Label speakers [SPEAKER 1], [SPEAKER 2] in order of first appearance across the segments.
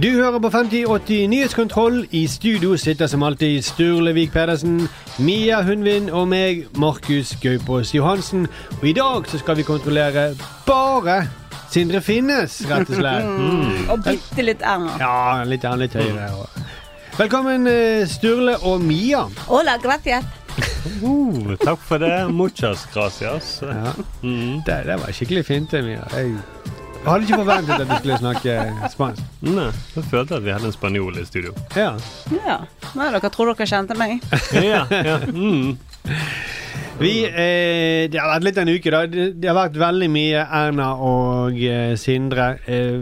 [SPEAKER 1] Du hører på 5080 Nyhetskontroll. I studio sitter som alltid Sturlevik Pedersen, Mia Hundvin og meg, Markus Gaupås Johansen. Og i dag så skal vi kontrollere bare Sindre Finnes, rett og slett. Mm.
[SPEAKER 2] Og bitte litt Erna.
[SPEAKER 1] Ja, litt, ja, litt høyere. og- Velkommen eh, Sturle og Mia.
[SPEAKER 2] Hola, gracias.
[SPEAKER 3] Uh, takk for det. Muchas gracias. Mm.
[SPEAKER 1] Ja. Det, det var skikkelig fint, det, Mia. Jeg hadde ikke forventet at du skulle snakke spansk.
[SPEAKER 3] Nei, jeg følte at vi hadde en spanjol i studio.
[SPEAKER 1] Ja.
[SPEAKER 2] Ja. Nei, dere tror dere kjente meg.
[SPEAKER 3] Ja, ja. Mm.
[SPEAKER 1] Vi, eh, det har vært litt av en uke, da. Det, det har vært veldig mye Erna og eh, Sindre. Eh,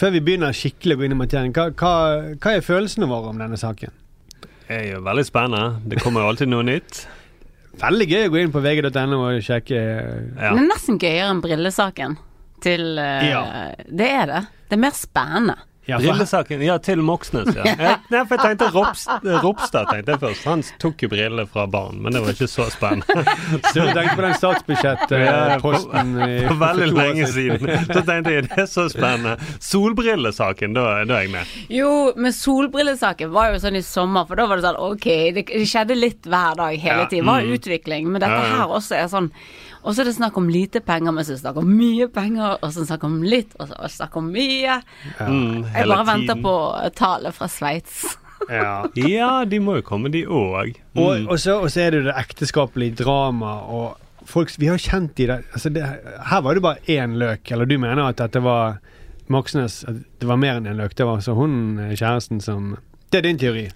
[SPEAKER 1] før vi begynner skikkelig å gå inn i materien, hva, hva, hva er følelsene våre om denne saken?
[SPEAKER 3] Det er jo veldig spennende. Det kommer jo alltid noe nytt.
[SPEAKER 1] Veldig gøy å gå inn på vg.no og sjekke. eh,
[SPEAKER 3] Ja.
[SPEAKER 2] Det er nesten gøyere enn brillesaken til eh,
[SPEAKER 1] Ja.
[SPEAKER 2] Det er det. Det er mer spennende.
[SPEAKER 1] Ja, for,
[SPEAKER 3] Brillesaken. Ja, til Moxnes, ja. ja. Nei, for jeg tenkte Rops- Ropstad tenkte jeg først. Han tok jo briller fra barn, men det var ikke så spennende.
[SPEAKER 1] så jeg tenkte på den
[SPEAKER 3] Ja,
[SPEAKER 1] statsbudsjettposten i-
[SPEAKER 3] For
[SPEAKER 1] eh, for to
[SPEAKER 3] veldig
[SPEAKER 1] år
[SPEAKER 3] lenge siden. Så tenkte jeg det er så spennende. Solbrillesaken, da, da er jeg med.
[SPEAKER 2] Jo, men solbrillesaken var jo sånn i sommer, for da var det sånn ok, det det skjedde litt hver dag hele
[SPEAKER 3] Ja,
[SPEAKER 2] tiden. Det var
[SPEAKER 3] mm.
[SPEAKER 2] utvikling, men
[SPEAKER 3] Ja,
[SPEAKER 2] dette
[SPEAKER 3] ja.
[SPEAKER 2] her også er sånn Og så er det snakk om lite penger, men så er det snakk om mye penger, og så er det snakk om litt, og så er det snakk om mye.
[SPEAKER 3] Mm,
[SPEAKER 2] Jeg
[SPEAKER 3] hele
[SPEAKER 2] bare venter
[SPEAKER 3] tiden.
[SPEAKER 2] på tallet fra Sveits.
[SPEAKER 1] Ja.
[SPEAKER 3] Ja, de må jo komme, de Mm. òg.
[SPEAKER 1] Og, og, så, og så er det jo det ekteskapelige dramaet og folk Vi har kjent i det, altså det Her var det bare én løk, eller du mener at dette var Moxnes at Det var mer enn én løk. Det var altså hun eh, kjæresten som Det er din teori.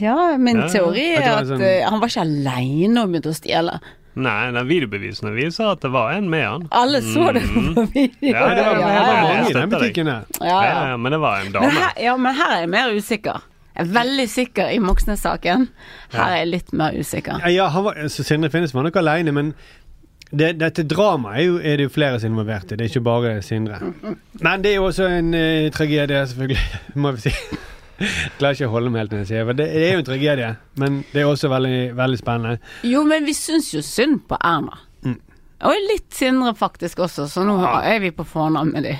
[SPEAKER 2] Ja, min
[SPEAKER 3] Ja, ja.
[SPEAKER 2] teori
[SPEAKER 1] At det
[SPEAKER 2] er
[SPEAKER 1] var
[SPEAKER 2] at
[SPEAKER 1] sånn-
[SPEAKER 2] eh, han var ikke aleine og begynte å stjele.
[SPEAKER 3] Nei, den videobevisene viser at det var en med han.
[SPEAKER 2] Alle så det på video.
[SPEAKER 3] Ja, det var-
[SPEAKER 1] Det var
[SPEAKER 3] Ja, ja,
[SPEAKER 1] mange i
[SPEAKER 3] jeg
[SPEAKER 1] den
[SPEAKER 3] støtter deg.
[SPEAKER 1] butikken der.
[SPEAKER 2] Ja, ja.
[SPEAKER 3] Ja, ja, men det var en
[SPEAKER 2] Men
[SPEAKER 3] dame.
[SPEAKER 2] her, ja, men her er jeg mer usikker. Jeg er veldig sikker i Moxnes-saken. Her er jeg litt mer usikker.
[SPEAKER 1] Ja, ja, han var, så Sindre Finnes var nok aleine, men det, dette dramaet er, jo- er det jo flere som er involvert i. Det er ikke bare Sindre. Men det er jo også en eh, tragedie, selvfølgelig, må vi si. Jeg klarer ikke å holde meg helt når jeg sier det. for Det det er jo en tragedie, men det er også veldig, veldig spennende.
[SPEAKER 2] Jo, men vi syns jo synd på Erna. Og litt Sindre faktisk også, så nå er vi på fornavn med de.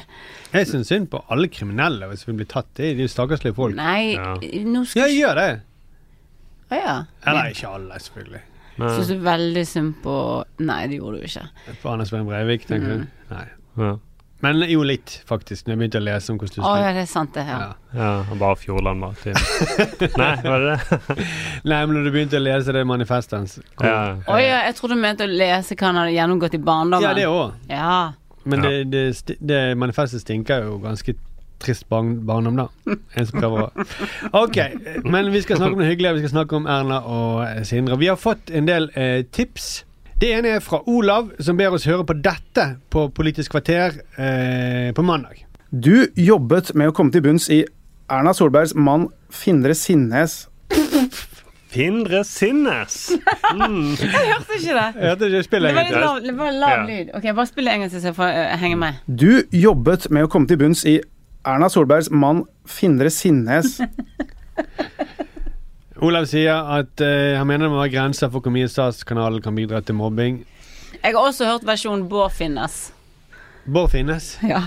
[SPEAKER 1] Jeg syns synd på alle kriminelle hvis vi blir tatt. Det er de stakkarslige folk.
[SPEAKER 2] Nei,
[SPEAKER 3] Ja.
[SPEAKER 2] nå
[SPEAKER 1] Ja,
[SPEAKER 2] skal
[SPEAKER 1] jeg gjør det.
[SPEAKER 2] Å ja.
[SPEAKER 1] Eller ikke alle, selvfølgelig.
[SPEAKER 3] Nei.
[SPEAKER 2] Syns du veldig synd på Nei, det gjorde du ikke.
[SPEAKER 1] På Anders Behn Breivik, tenker
[SPEAKER 2] Mhm.
[SPEAKER 1] du? Nei.
[SPEAKER 3] Ja.
[SPEAKER 1] Men jo litt, faktisk, når jeg begynte å lese om hvordan du
[SPEAKER 2] Å
[SPEAKER 1] skulle
[SPEAKER 2] ja, det er sant, det her.
[SPEAKER 1] Ja.
[SPEAKER 3] ja, han bare Fjordland Martin. Nei, var det det?
[SPEAKER 1] Nei, men når du begynte å lese det manifestet hans kom-
[SPEAKER 3] Ja.
[SPEAKER 2] Å ja, jeg trodde du mente å lese hva han hadde gjennomgått i barndommen.
[SPEAKER 1] ja, det òg.
[SPEAKER 2] Ja.
[SPEAKER 1] Men
[SPEAKER 3] Ja.
[SPEAKER 1] det, det, sti- det manifestet stinker jo ganske trist barn, barndom, da. En som prøver å Ok, men vi skal snakke om det hyggelige. Vi skal snakke om Erna og eh, Sindre. Vi har fått en del eh, tips. Det ene er fra Olav, som ber oss høre på dette på Politisk kvarter eh, på mandag.
[SPEAKER 4] Du jobbet med å komme til bunns i Erna Solbergs mann Findre Sinnes.
[SPEAKER 3] Findre Sinnes!
[SPEAKER 2] Hørte ikke det?
[SPEAKER 1] Jeg hørte ikke
[SPEAKER 2] Det
[SPEAKER 1] spillet
[SPEAKER 2] var litt
[SPEAKER 1] egentlig.
[SPEAKER 2] lav, det var lav
[SPEAKER 3] Ja.
[SPEAKER 2] lyd. Ok, Bare spill det en gang til, så jeg får eh, henge med.
[SPEAKER 4] Du jobbet med å komme til bunns i Erna Solbergs mann Findre Sinnes.
[SPEAKER 1] Olav sier at eh, han mener det må være grenser for hvor mye statskanalen kan bidra til mobbing.
[SPEAKER 2] Jeg har også hørt versjonen Bård Finnes.
[SPEAKER 1] Bård Finnes.
[SPEAKER 2] Ja.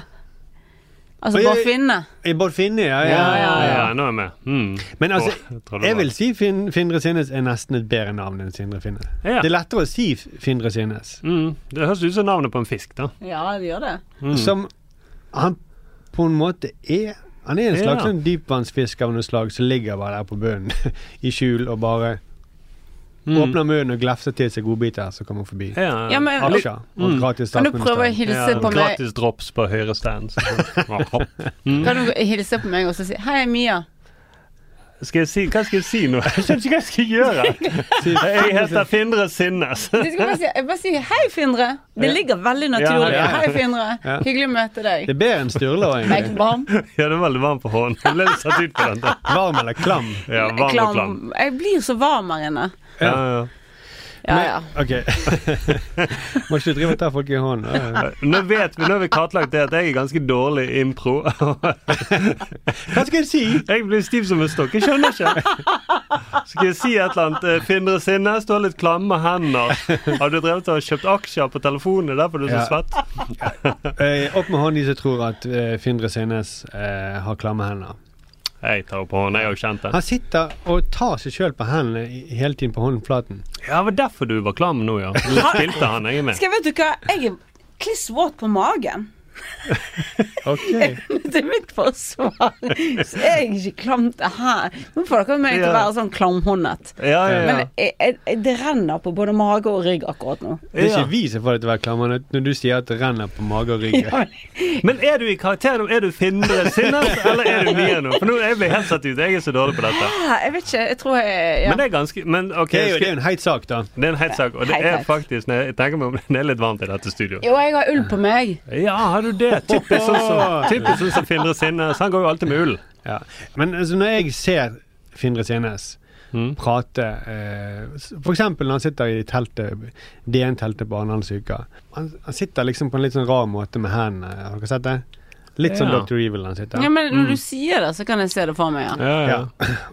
[SPEAKER 2] Altså
[SPEAKER 1] Oi,
[SPEAKER 2] Bård
[SPEAKER 1] oi.
[SPEAKER 2] Finne.
[SPEAKER 1] Eh, Bård Finne, ja. ja, ja, ja.
[SPEAKER 3] Ja, nå er jeg med. Mm.
[SPEAKER 1] Men altså,
[SPEAKER 3] Åh, jeg tror det
[SPEAKER 1] jeg
[SPEAKER 3] var-
[SPEAKER 1] vil si fin, Findre Sinnes er nesten et bedre navn enn Sindre Finnes.
[SPEAKER 3] Ja.
[SPEAKER 1] Det er lettere å si F- Findre Sinnes.
[SPEAKER 3] Mm. Det høres ut som navnet på en fisk, da.
[SPEAKER 2] Ja, det gjør det.
[SPEAKER 3] Mm.
[SPEAKER 1] Som han på en måte er. Han er en
[SPEAKER 3] Ja.
[SPEAKER 1] slags sånn dypvannsfisk av noe slag som ligger bare der på bunnen i skjul og bare åpner munnen og glefser til seg godbiter som kommer forbi.
[SPEAKER 3] Mm. Ja,
[SPEAKER 2] Ja, men-
[SPEAKER 1] Aksjer og
[SPEAKER 3] Mm.
[SPEAKER 1] gratis
[SPEAKER 2] Kan du prøve å
[SPEAKER 1] statsminister.
[SPEAKER 2] hilse på meg
[SPEAKER 3] Gratis drops på høyre stand. så-
[SPEAKER 2] Kan du hilse på meg og så si 'Hei, Mia'?
[SPEAKER 3] Skal jeg si, hva skal jeg si nå? Jeg skjønner ikke hva jeg skal gjøre. Jeg heter Findre Sinnes.
[SPEAKER 2] Du skal bare si, jeg bare si 'Hei, Findre'. Det ligger veldig naturlig.
[SPEAKER 3] Ja, ja.
[SPEAKER 2] Hei, Findre.
[SPEAKER 1] Ja.
[SPEAKER 2] Hyggelig å møte
[SPEAKER 1] Det
[SPEAKER 2] deg.
[SPEAKER 1] er bedre enn Sturla,
[SPEAKER 2] Meg
[SPEAKER 1] egentlig.
[SPEAKER 2] varm.
[SPEAKER 3] Ja, det var veldig varmt på hånden. Jeg ble litt satt ut på den. da.
[SPEAKER 1] Varm eller klam.
[SPEAKER 3] Ja, varm og klam.
[SPEAKER 2] Klam. Jeg blir så varm her inne.
[SPEAKER 3] Ja, ja.
[SPEAKER 2] Ja, ja.
[SPEAKER 1] Ok. Må ikke du drive og ta folk i hånden. Ja, ja.
[SPEAKER 3] Nå vet vi, nå har vi kartlagt det at jeg er ganske dårlig i impro.
[SPEAKER 1] Hva skal jeg si?
[SPEAKER 3] Jeg blir stiv som en stokk. Jeg skjønner ikke. Skal jeg si et eller annet? eh, Findre Sinnes, du har litt klamme hender. Har du drevet og kjøpt aksjer på telefonen? Det er derfor du er
[SPEAKER 1] Ja.
[SPEAKER 3] så svett.
[SPEAKER 1] Eh, opp med hånden de som tror at eh, Findre Sinnes eh, har klamme hender.
[SPEAKER 3] Jeg tar opp hånden. Jeg har jo kjent det.
[SPEAKER 1] Han sitter og tar seg sjøl på hendene i- hele tiden på håndflaten.
[SPEAKER 3] Ja, det var derfor du var klam nå, ja. Du spilte han, jeg er med.
[SPEAKER 2] Skal jeg vet du hva, jeg er kliss våt på magen.
[SPEAKER 1] Ok.
[SPEAKER 2] Det er mitt forsvar. Så jeg er ikke klam til her. Nå får dere meg til å
[SPEAKER 3] Ja.
[SPEAKER 2] være sånn klamhåndet.
[SPEAKER 3] Ja, ja, ja.
[SPEAKER 2] Men jeg, jeg, jeg, det renner på både mage og rygg akkurat nå.
[SPEAKER 1] Det er
[SPEAKER 3] Ja.
[SPEAKER 1] ikke vi som får deg til å være klam Anne, når du sier at det renner på mage og rygg.
[SPEAKER 3] Men er du i karakter nå? Er du Findre Sinnes, eller er du Mia nå? For nå jeg blir helt satt ut. Jeg er så dårlig på dette.
[SPEAKER 2] Ah, Jeg vet ikke, jeg tror jeg ja.
[SPEAKER 3] Men det er ganske Men OK,
[SPEAKER 1] Det er jo det er jo
[SPEAKER 3] skal,
[SPEAKER 1] en heit sak, da.
[SPEAKER 3] det er en heit sak, og det
[SPEAKER 2] Heit
[SPEAKER 3] er
[SPEAKER 2] sak.
[SPEAKER 3] faktisk når jeg tenker meg om, det er litt varmt i dette studioet.
[SPEAKER 2] Jo, jeg har ull på meg.
[SPEAKER 3] Ja, har du det? Typisk sånn som, typisk sånn som Findre Sinnes. Han går jo alltid med ull.
[SPEAKER 1] Ja. Men altså, når jeg ser Findre Sines Mm. prate eh, s- For eksempel når han sitter i teltet, DN-teltet på Arendalsuka. Han, han sitter liksom på en litt sånn rar måte med hendene. Har dere sett det? Litt sånn
[SPEAKER 3] Ja.
[SPEAKER 1] Dr. Evil han sitter.
[SPEAKER 2] Ja, men når du sier det, så kan jeg se det for meg igjen.
[SPEAKER 3] Ja, ja.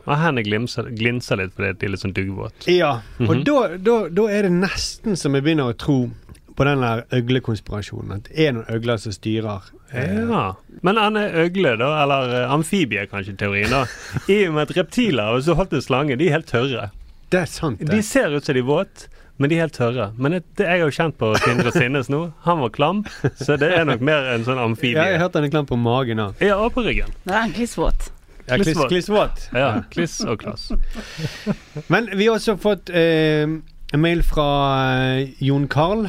[SPEAKER 3] Og hendene glimser, glinser litt fordi de er litt sånn duggvåte.
[SPEAKER 1] Ja, Mhm. og da, da, da er det nesten som jeg begynner å tro på den der øglekonspirasjonen. At det er noen øgler som styrer. Eh,
[SPEAKER 3] Ja. Men han er øgle, da, eller eh, amfibie, kanskje, teorien, da. I og med at reptiler og så holdt en slange, de er helt tørre.
[SPEAKER 1] Det er sant, det.
[SPEAKER 3] De ser ut som de er våte, men de er helt tørre. Men det, det er jo kjent på Sindre Sinnes nå. Han var klam, så det er nok mer en sånn
[SPEAKER 1] ja, jeg
[SPEAKER 3] amfibie.
[SPEAKER 1] hørte han er klam på magen òg.
[SPEAKER 3] Ja, og på ryggen.
[SPEAKER 2] Det er en klissvåt.
[SPEAKER 1] Ja, kliss-
[SPEAKER 3] Klissvåt.
[SPEAKER 1] klissvåt.
[SPEAKER 3] Ja, Kliss og klass.
[SPEAKER 1] Men vi har også fått eh, en mail fra eh, Jon Carl.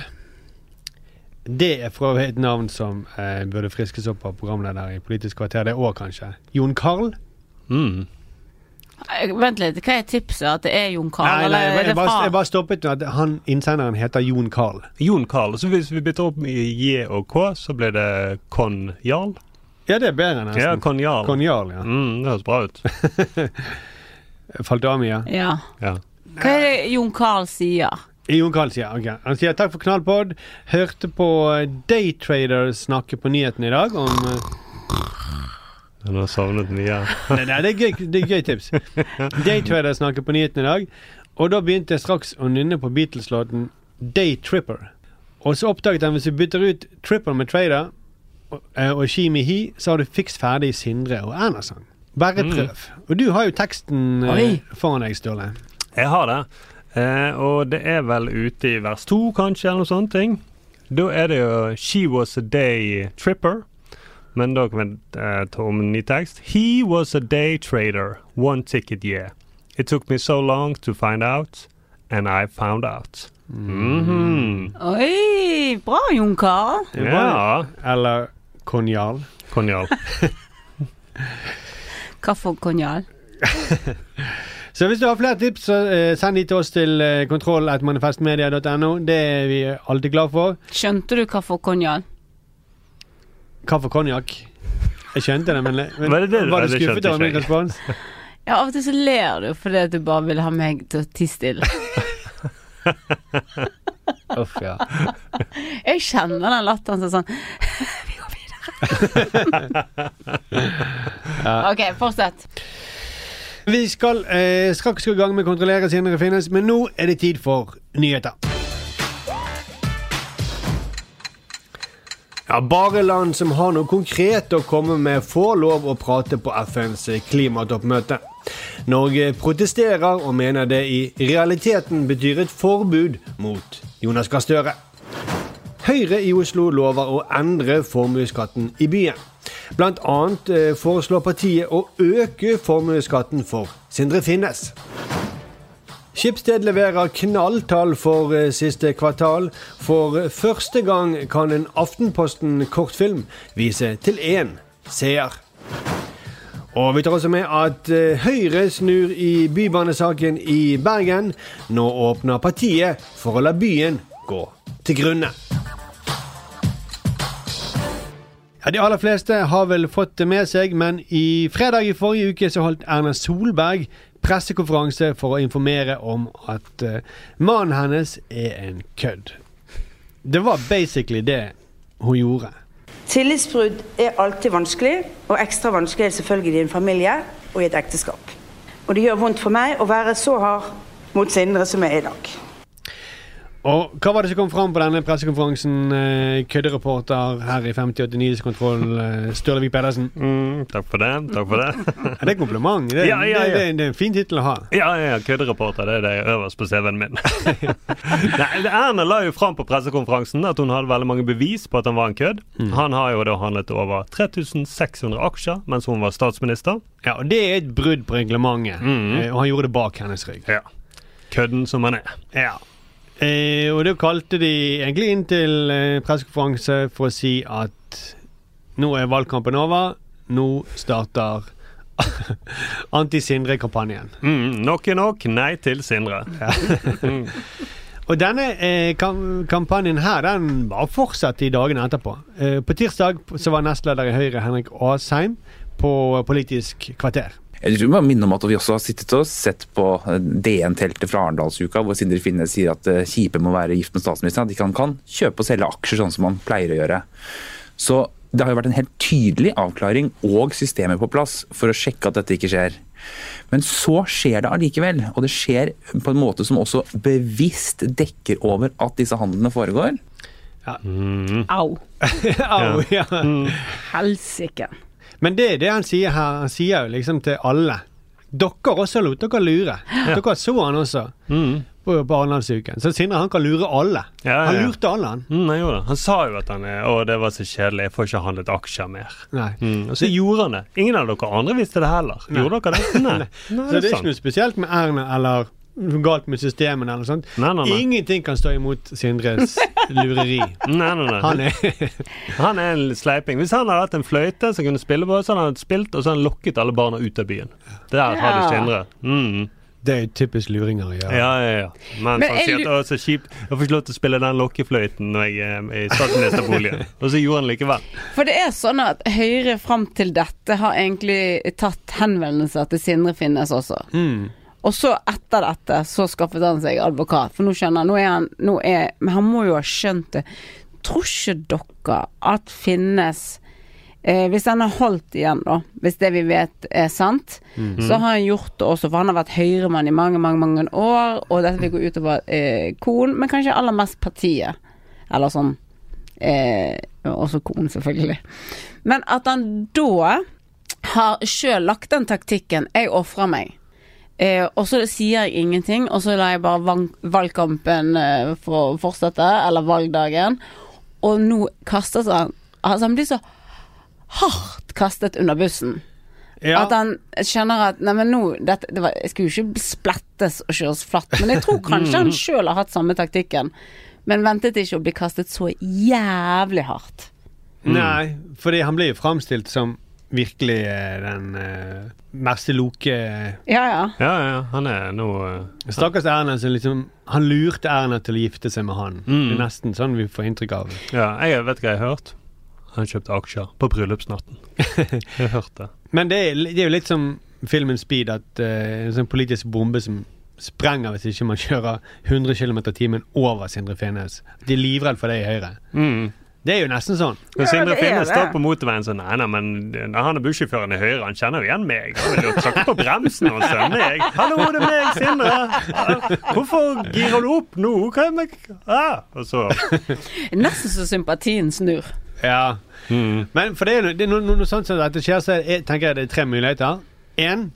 [SPEAKER 1] Det er fra et navn som eh, burde friskes opp av programleder i Politisk kvarter det år, kanskje. Jon Carl?
[SPEAKER 3] Mm.
[SPEAKER 2] Eh, Vent litt, hva er tipset? At det er Jon Carl,
[SPEAKER 1] Nei, nei,
[SPEAKER 2] eller
[SPEAKER 1] jeg,
[SPEAKER 2] er det
[SPEAKER 1] jeg, bare, jeg
[SPEAKER 2] far?
[SPEAKER 1] bare stoppet nå at han innsenderen heter Jon Carl.
[SPEAKER 3] Jon Carl. Så hvis vi bytter opp i J og K, så blir det Kon Jarl.
[SPEAKER 1] Ja, det er bedre, nesten.
[SPEAKER 3] Ja, sånn. Kon Jarl.
[SPEAKER 1] Kon Jarl, ja.
[SPEAKER 3] Mm, det høres bra ut.
[SPEAKER 1] Falt av mye?
[SPEAKER 2] Ja.
[SPEAKER 3] Ja.
[SPEAKER 2] Hva er det Jon Carl sier?
[SPEAKER 1] Jon Carl sier ok. Han sier takk for knallpod. Hørte på Daytrader snakke på nyhetene i dag om eh,
[SPEAKER 3] Han har sovnet mye.
[SPEAKER 1] Nei, nei, det er gøy, det er gøy tips. Daytrader snakker på nyhetene i dag, og da begynte jeg straks å nynne på Beatles-låten Day Tripper. Og så oppdaget han hvis du bytter ut Tripper med Trader og, eh, og She Me He, så har du fiks ferdig Sindre og Erna-sang. Bare prøv. Og du har jo teksten eh,
[SPEAKER 2] Oi.
[SPEAKER 1] foran deg, Sturle.
[SPEAKER 3] Jeg har det. Eh, og det er vel ute i vers to, kanskje, eller noe sånt. ting. Da er det jo 'She was a day tripper'. Men da kan vi eh, ta om en ny tekst. 'He was a day trader, one ticket yeah. It took me so long to find out, and I found out'. Mhm.
[SPEAKER 2] Oi, bra Jon Carl.
[SPEAKER 1] Det er bra.
[SPEAKER 3] Ja,
[SPEAKER 1] Eller Konjal.
[SPEAKER 3] Konjal.
[SPEAKER 2] Kaffe og konjal.
[SPEAKER 1] Så hvis du har flere tips, så eh, send de til oss til eh, kontroll.manifestmedia.no. Det er vi alltid glad for.
[SPEAKER 2] Skjønte du kaffe og konjal?
[SPEAKER 1] Kaffe og konjakk. Jeg skjønte det, men, men
[SPEAKER 3] Var det det du-
[SPEAKER 1] var du
[SPEAKER 3] Nei, det
[SPEAKER 1] skuffet
[SPEAKER 3] skjønte
[SPEAKER 1] over min
[SPEAKER 3] ikke jeg.
[SPEAKER 1] respons?
[SPEAKER 2] Ja, Av og til så ler du fordi at du bare vil ha meg til å tie stille.
[SPEAKER 1] Uff, ja.
[SPEAKER 2] Jeg kjenner den latteren som sånn Vi går videre. OK, fortsett.
[SPEAKER 1] Vi skal eh, straks gå i gang med å kontrollere senere finnes, men nå er det tid for nyheter. Ja, bare land som har noe konkret å komme med, får lov å prate på FNs klimatoppmøte. Norge protesterer og mener det i realiteten betyr et forbud mot Jonas Gahr Støre. Høyre i Oslo lover å endre formuesskatten i byen. Blant annet eh, foreslår partiet å øke formuesskatten for Sindre Finnes. Skipsted leverer knalltall for eh, siste kvartal. For første gang kan en Aftenposten-kortfilm vise til én seer. Og vi tar også med at eh, Høyre snur i bybanesaken i Bergen. Nå åpner partiet for å la byen gå til grunne. Ja, De aller fleste har vel fått det med seg, men i fredag i forrige uke så holdt Erna Solberg pressekonferanse for å informere om at eh, mannen hennes er en kødd. Det var basically det hun gjorde.
[SPEAKER 5] Tillitsbrudd er alltid vanskelig, og ekstra vanskelig er det selvfølgelig i en familie og i et ekteskap. Og det gjør vondt for meg å være så hard mot Sindre som jeg er i dag.
[SPEAKER 1] Og hva var det som kom fram på denne pressekonferansen, eh, køddereporter her i 5089s kontroll, eh, Sturlevik Pedersen?
[SPEAKER 3] Mm, takk for det. Takk for det.
[SPEAKER 1] Er det er kompliment? Det er,
[SPEAKER 3] Ja, ja,
[SPEAKER 1] Det,
[SPEAKER 3] ja.
[SPEAKER 1] det, det er en fin tittel å ha.
[SPEAKER 3] Ja, ja, ja, køddereporter. Det er det øverst på CV-en min. Nei, Erna la jo fram på pressekonferansen at hun hadde veldig mange bevis på at han var en kødd.
[SPEAKER 1] Mm.
[SPEAKER 3] Han har jo da handlet over 3600 aksjer mens hun var statsminister.
[SPEAKER 1] Ja, og Det er et brudd på reglementet,
[SPEAKER 3] Mm.
[SPEAKER 1] eh, og han gjorde det bak hennes rygg.
[SPEAKER 3] Ja. Kødden som han er.
[SPEAKER 1] Ja. Eh, og da kalte de egentlig inn til eh, pressekonferanse for å si at nå er valgkampen over, nå starter anti-Sindre-kampanjen.
[SPEAKER 3] Mm, nok er nok. Nei til Sindre.
[SPEAKER 1] Og denne eh, kam kampanjen her, den bare fortsatte i dagene etterpå. Eh, på tirsdag så var nestleder i Høyre Henrik Asheim på Politisk kvarter.
[SPEAKER 6] Jeg tror vi må minne om at vi også har sittet og sett på eh, DN-teltet fra Arendalsuka, hvor Sindre Finnes sier at eh, kjipe må være gift med statsministeren, at ikke han kan kjøpe og selge aksjer sånn som han pleier å gjøre. Så det har jo vært en helt tydelig avklaring og systemer på plass for å sjekke at dette ikke skjer. Men så skjer det allikevel, og det skjer på en måte som også bevisst dekker over at disse handlene foregår.
[SPEAKER 2] Au.
[SPEAKER 1] Au, ja.
[SPEAKER 2] Helsike.
[SPEAKER 1] Men det er det han sier her. Han sier jo liksom til alle. Dere også lot dere lure. Dere så han også på, på Arendalsuken. Så Sindre han kan lure alle.
[SPEAKER 3] Mm. Ja, ja,
[SPEAKER 1] Han
[SPEAKER 3] ja.
[SPEAKER 1] lurte alle, han.
[SPEAKER 3] Mm, han gjorde det. Han sa jo at han er Å, det var så kjedelig, jeg får ikke handlet aksjer mer.
[SPEAKER 1] Nei.
[SPEAKER 3] Mm, og så gjorde han det. Ingen av dere andre visste det heller. Gjorde dere det? Nei. Nei,
[SPEAKER 1] Så det er
[SPEAKER 3] sant.
[SPEAKER 1] ikke noe spesielt med Erna eller galt med systemene eller noe sånt.
[SPEAKER 3] Nei, nei, nei.
[SPEAKER 1] Ingenting kan stå imot Sindres lureri.
[SPEAKER 3] Nei, nei, nei.
[SPEAKER 1] Han er
[SPEAKER 3] Han er en sleiping. Hvis han hadde hatt en fløyte som kunne spille på, så hadde han spilt, og så hadde han lokket alle barna ut av byen. Der har
[SPEAKER 2] Ja.
[SPEAKER 3] du Sindre. Mm.
[SPEAKER 1] Det er jo typisk luringer å gjøre.
[SPEAKER 3] Ja, ja, ja. Men,
[SPEAKER 2] Men
[SPEAKER 3] han
[SPEAKER 2] jeg
[SPEAKER 3] sier at
[SPEAKER 2] lu-
[SPEAKER 3] det var så kjipt. Jeg får ikke lov til å spille den lokkefløyten når jeg er i statsministerboligen. og så gjorde han likevel.
[SPEAKER 2] For det er sånn at Høyre fram til dette har egentlig tatt henvendelser til Sindre Finnes også. Og så etter dette så skaffet han seg advokat, for nå skjønner han, nå er han nå er, Men han må jo ha skjønt det. Tror ikke dere at Finnes eh, Hvis han har holdt igjen, da, hvis det vi vet er sant, så har han gjort det også, for han har vært Høyre-mann i mange, mange mange år, og dette vil gå utover eh, Kon, men kanskje aller mest partiet. Eller sånn eh, Også Kon, selvfølgelig. Men at han da har sjøl lagt den taktikken 'jeg ofrer meg'. Eh, og så sier jeg ingenting, og så lar jeg bare van- valgkampen eh, få fortsette, eller valgdagen. Og nå kastes han Altså, han blir så hardt kastet under bussen.
[SPEAKER 1] Ja.
[SPEAKER 2] At han skjønner at Nei, men nå dette, det var, Jeg skulle jo ikke splettes og kjøres flatt, men jeg tror kanskje han sjøl har hatt samme taktikken. Men ventet ikke å bli kastet så jævlig hardt.
[SPEAKER 1] Nei, fordi han blir jo framstilt som virkelig eh, den eh, merseloke
[SPEAKER 2] Ja, ja.
[SPEAKER 3] Ja, ja, han er nå eh,
[SPEAKER 1] Stakkars Erna som liksom Han lurte Erna til å gifte seg med han.
[SPEAKER 3] Mm.
[SPEAKER 1] Det er nesten sånn vi får inntrykk av.
[SPEAKER 3] Ja, jeg vet hva jeg har hørt. Han kjøpte aksjer på bryllupsnatten. Jeg hørte det.
[SPEAKER 1] Men det er, det er jo litt som filmen Speed, at eh, en sånn politisk bombe som sprenger hvis ikke man kjører 100 km i timen over Sindre Finnes. De er livredd for det i Høyre.
[SPEAKER 3] Mm.
[SPEAKER 1] Det er jo nesten sånn.
[SPEAKER 3] Men Sindre
[SPEAKER 5] det er
[SPEAKER 3] Finnes
[SPEAKER 5] det.
[SPEAKER 3] står på motorveien sånn Nei, nei, men han er bussjåføren i Høyre. Han kjenner jo igjen meg. Han vil jo tråkke på bremsen og sende jeg. Hallo, det er meg, Sindre. Hvorfor girer du opp nå? Hva er meg? Ah, og så
[SPEAKER 2] Nesten så sympatien snur.
[SPEAKER 1] Ja.
[SPEAKER 3] Mm.
[SPEAKER 1] Men for det er, no- det er noe, noe sånt som dette skjer, så jeg tenker jeg det er tre muligheter. En,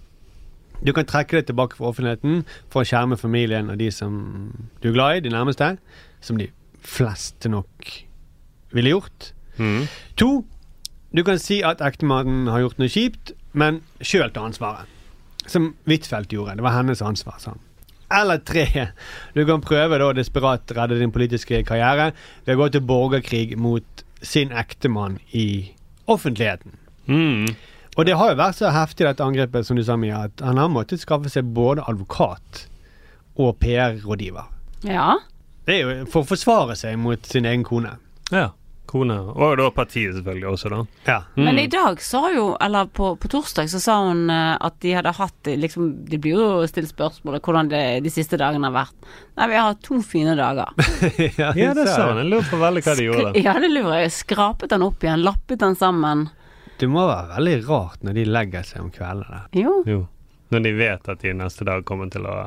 [SPEAKER 1] du kan trekke deg tilbake fra offentligheten for å skjerme familien og de som du er glad i, de nærmeste. Som de fleste nok ville gjort. To, du kan si at ektemannen har gjort noe kjipt, men sjøl tar ansvaret. Som Huitfeldt gjorde. Det var hennes ansvar, sa han. Eller tre, du kan prøve da å desperat redde din politiske karriere ved å gå til borgerkrig mot sin ektemann i offentligheten.
[SPEAKER 3] Mm.
[SPEAKER 1] Og det har jo vært så heftig dette angrepet som du sa, Mia, at han har måttet skaffe seg både advokat og PR-rådgiver.
[SPEAKER 2] Ja.
[SPEAKER 1] Det er jo for å forsvare seg mot sin egen kone.
[SPEAKER 3] Ja. Kone. Og da partiet, selvfølgelig, også, da.
[SPEAKER 1] Ja.
[SPEAKER 2] Men i dag sa jo, eller på, på torsdag så sa hun eh, at de hadde hatt eh, liksom, De blir jo stilt spørsmål om hvordan det, de siste dagene har vært. Nei, vi har hatt to fine dager.
[SPEAKER 3] Ja, det
[SPEAKER 1] sa
[SPEAKER 3] sa han. Jeg lurer på veldig hva de gjorde.
[SPEAKER 2] Ja, det lurer jeg. Skrapet han opp igjen, lappet han sammen.
[SPEAKER 1] Det må være veldig rart når de legger seg om kveldene.
[SPEAKER 2] Jo.
[SPEAKER 3] Jo. Når de vet at de neste dag kommer til å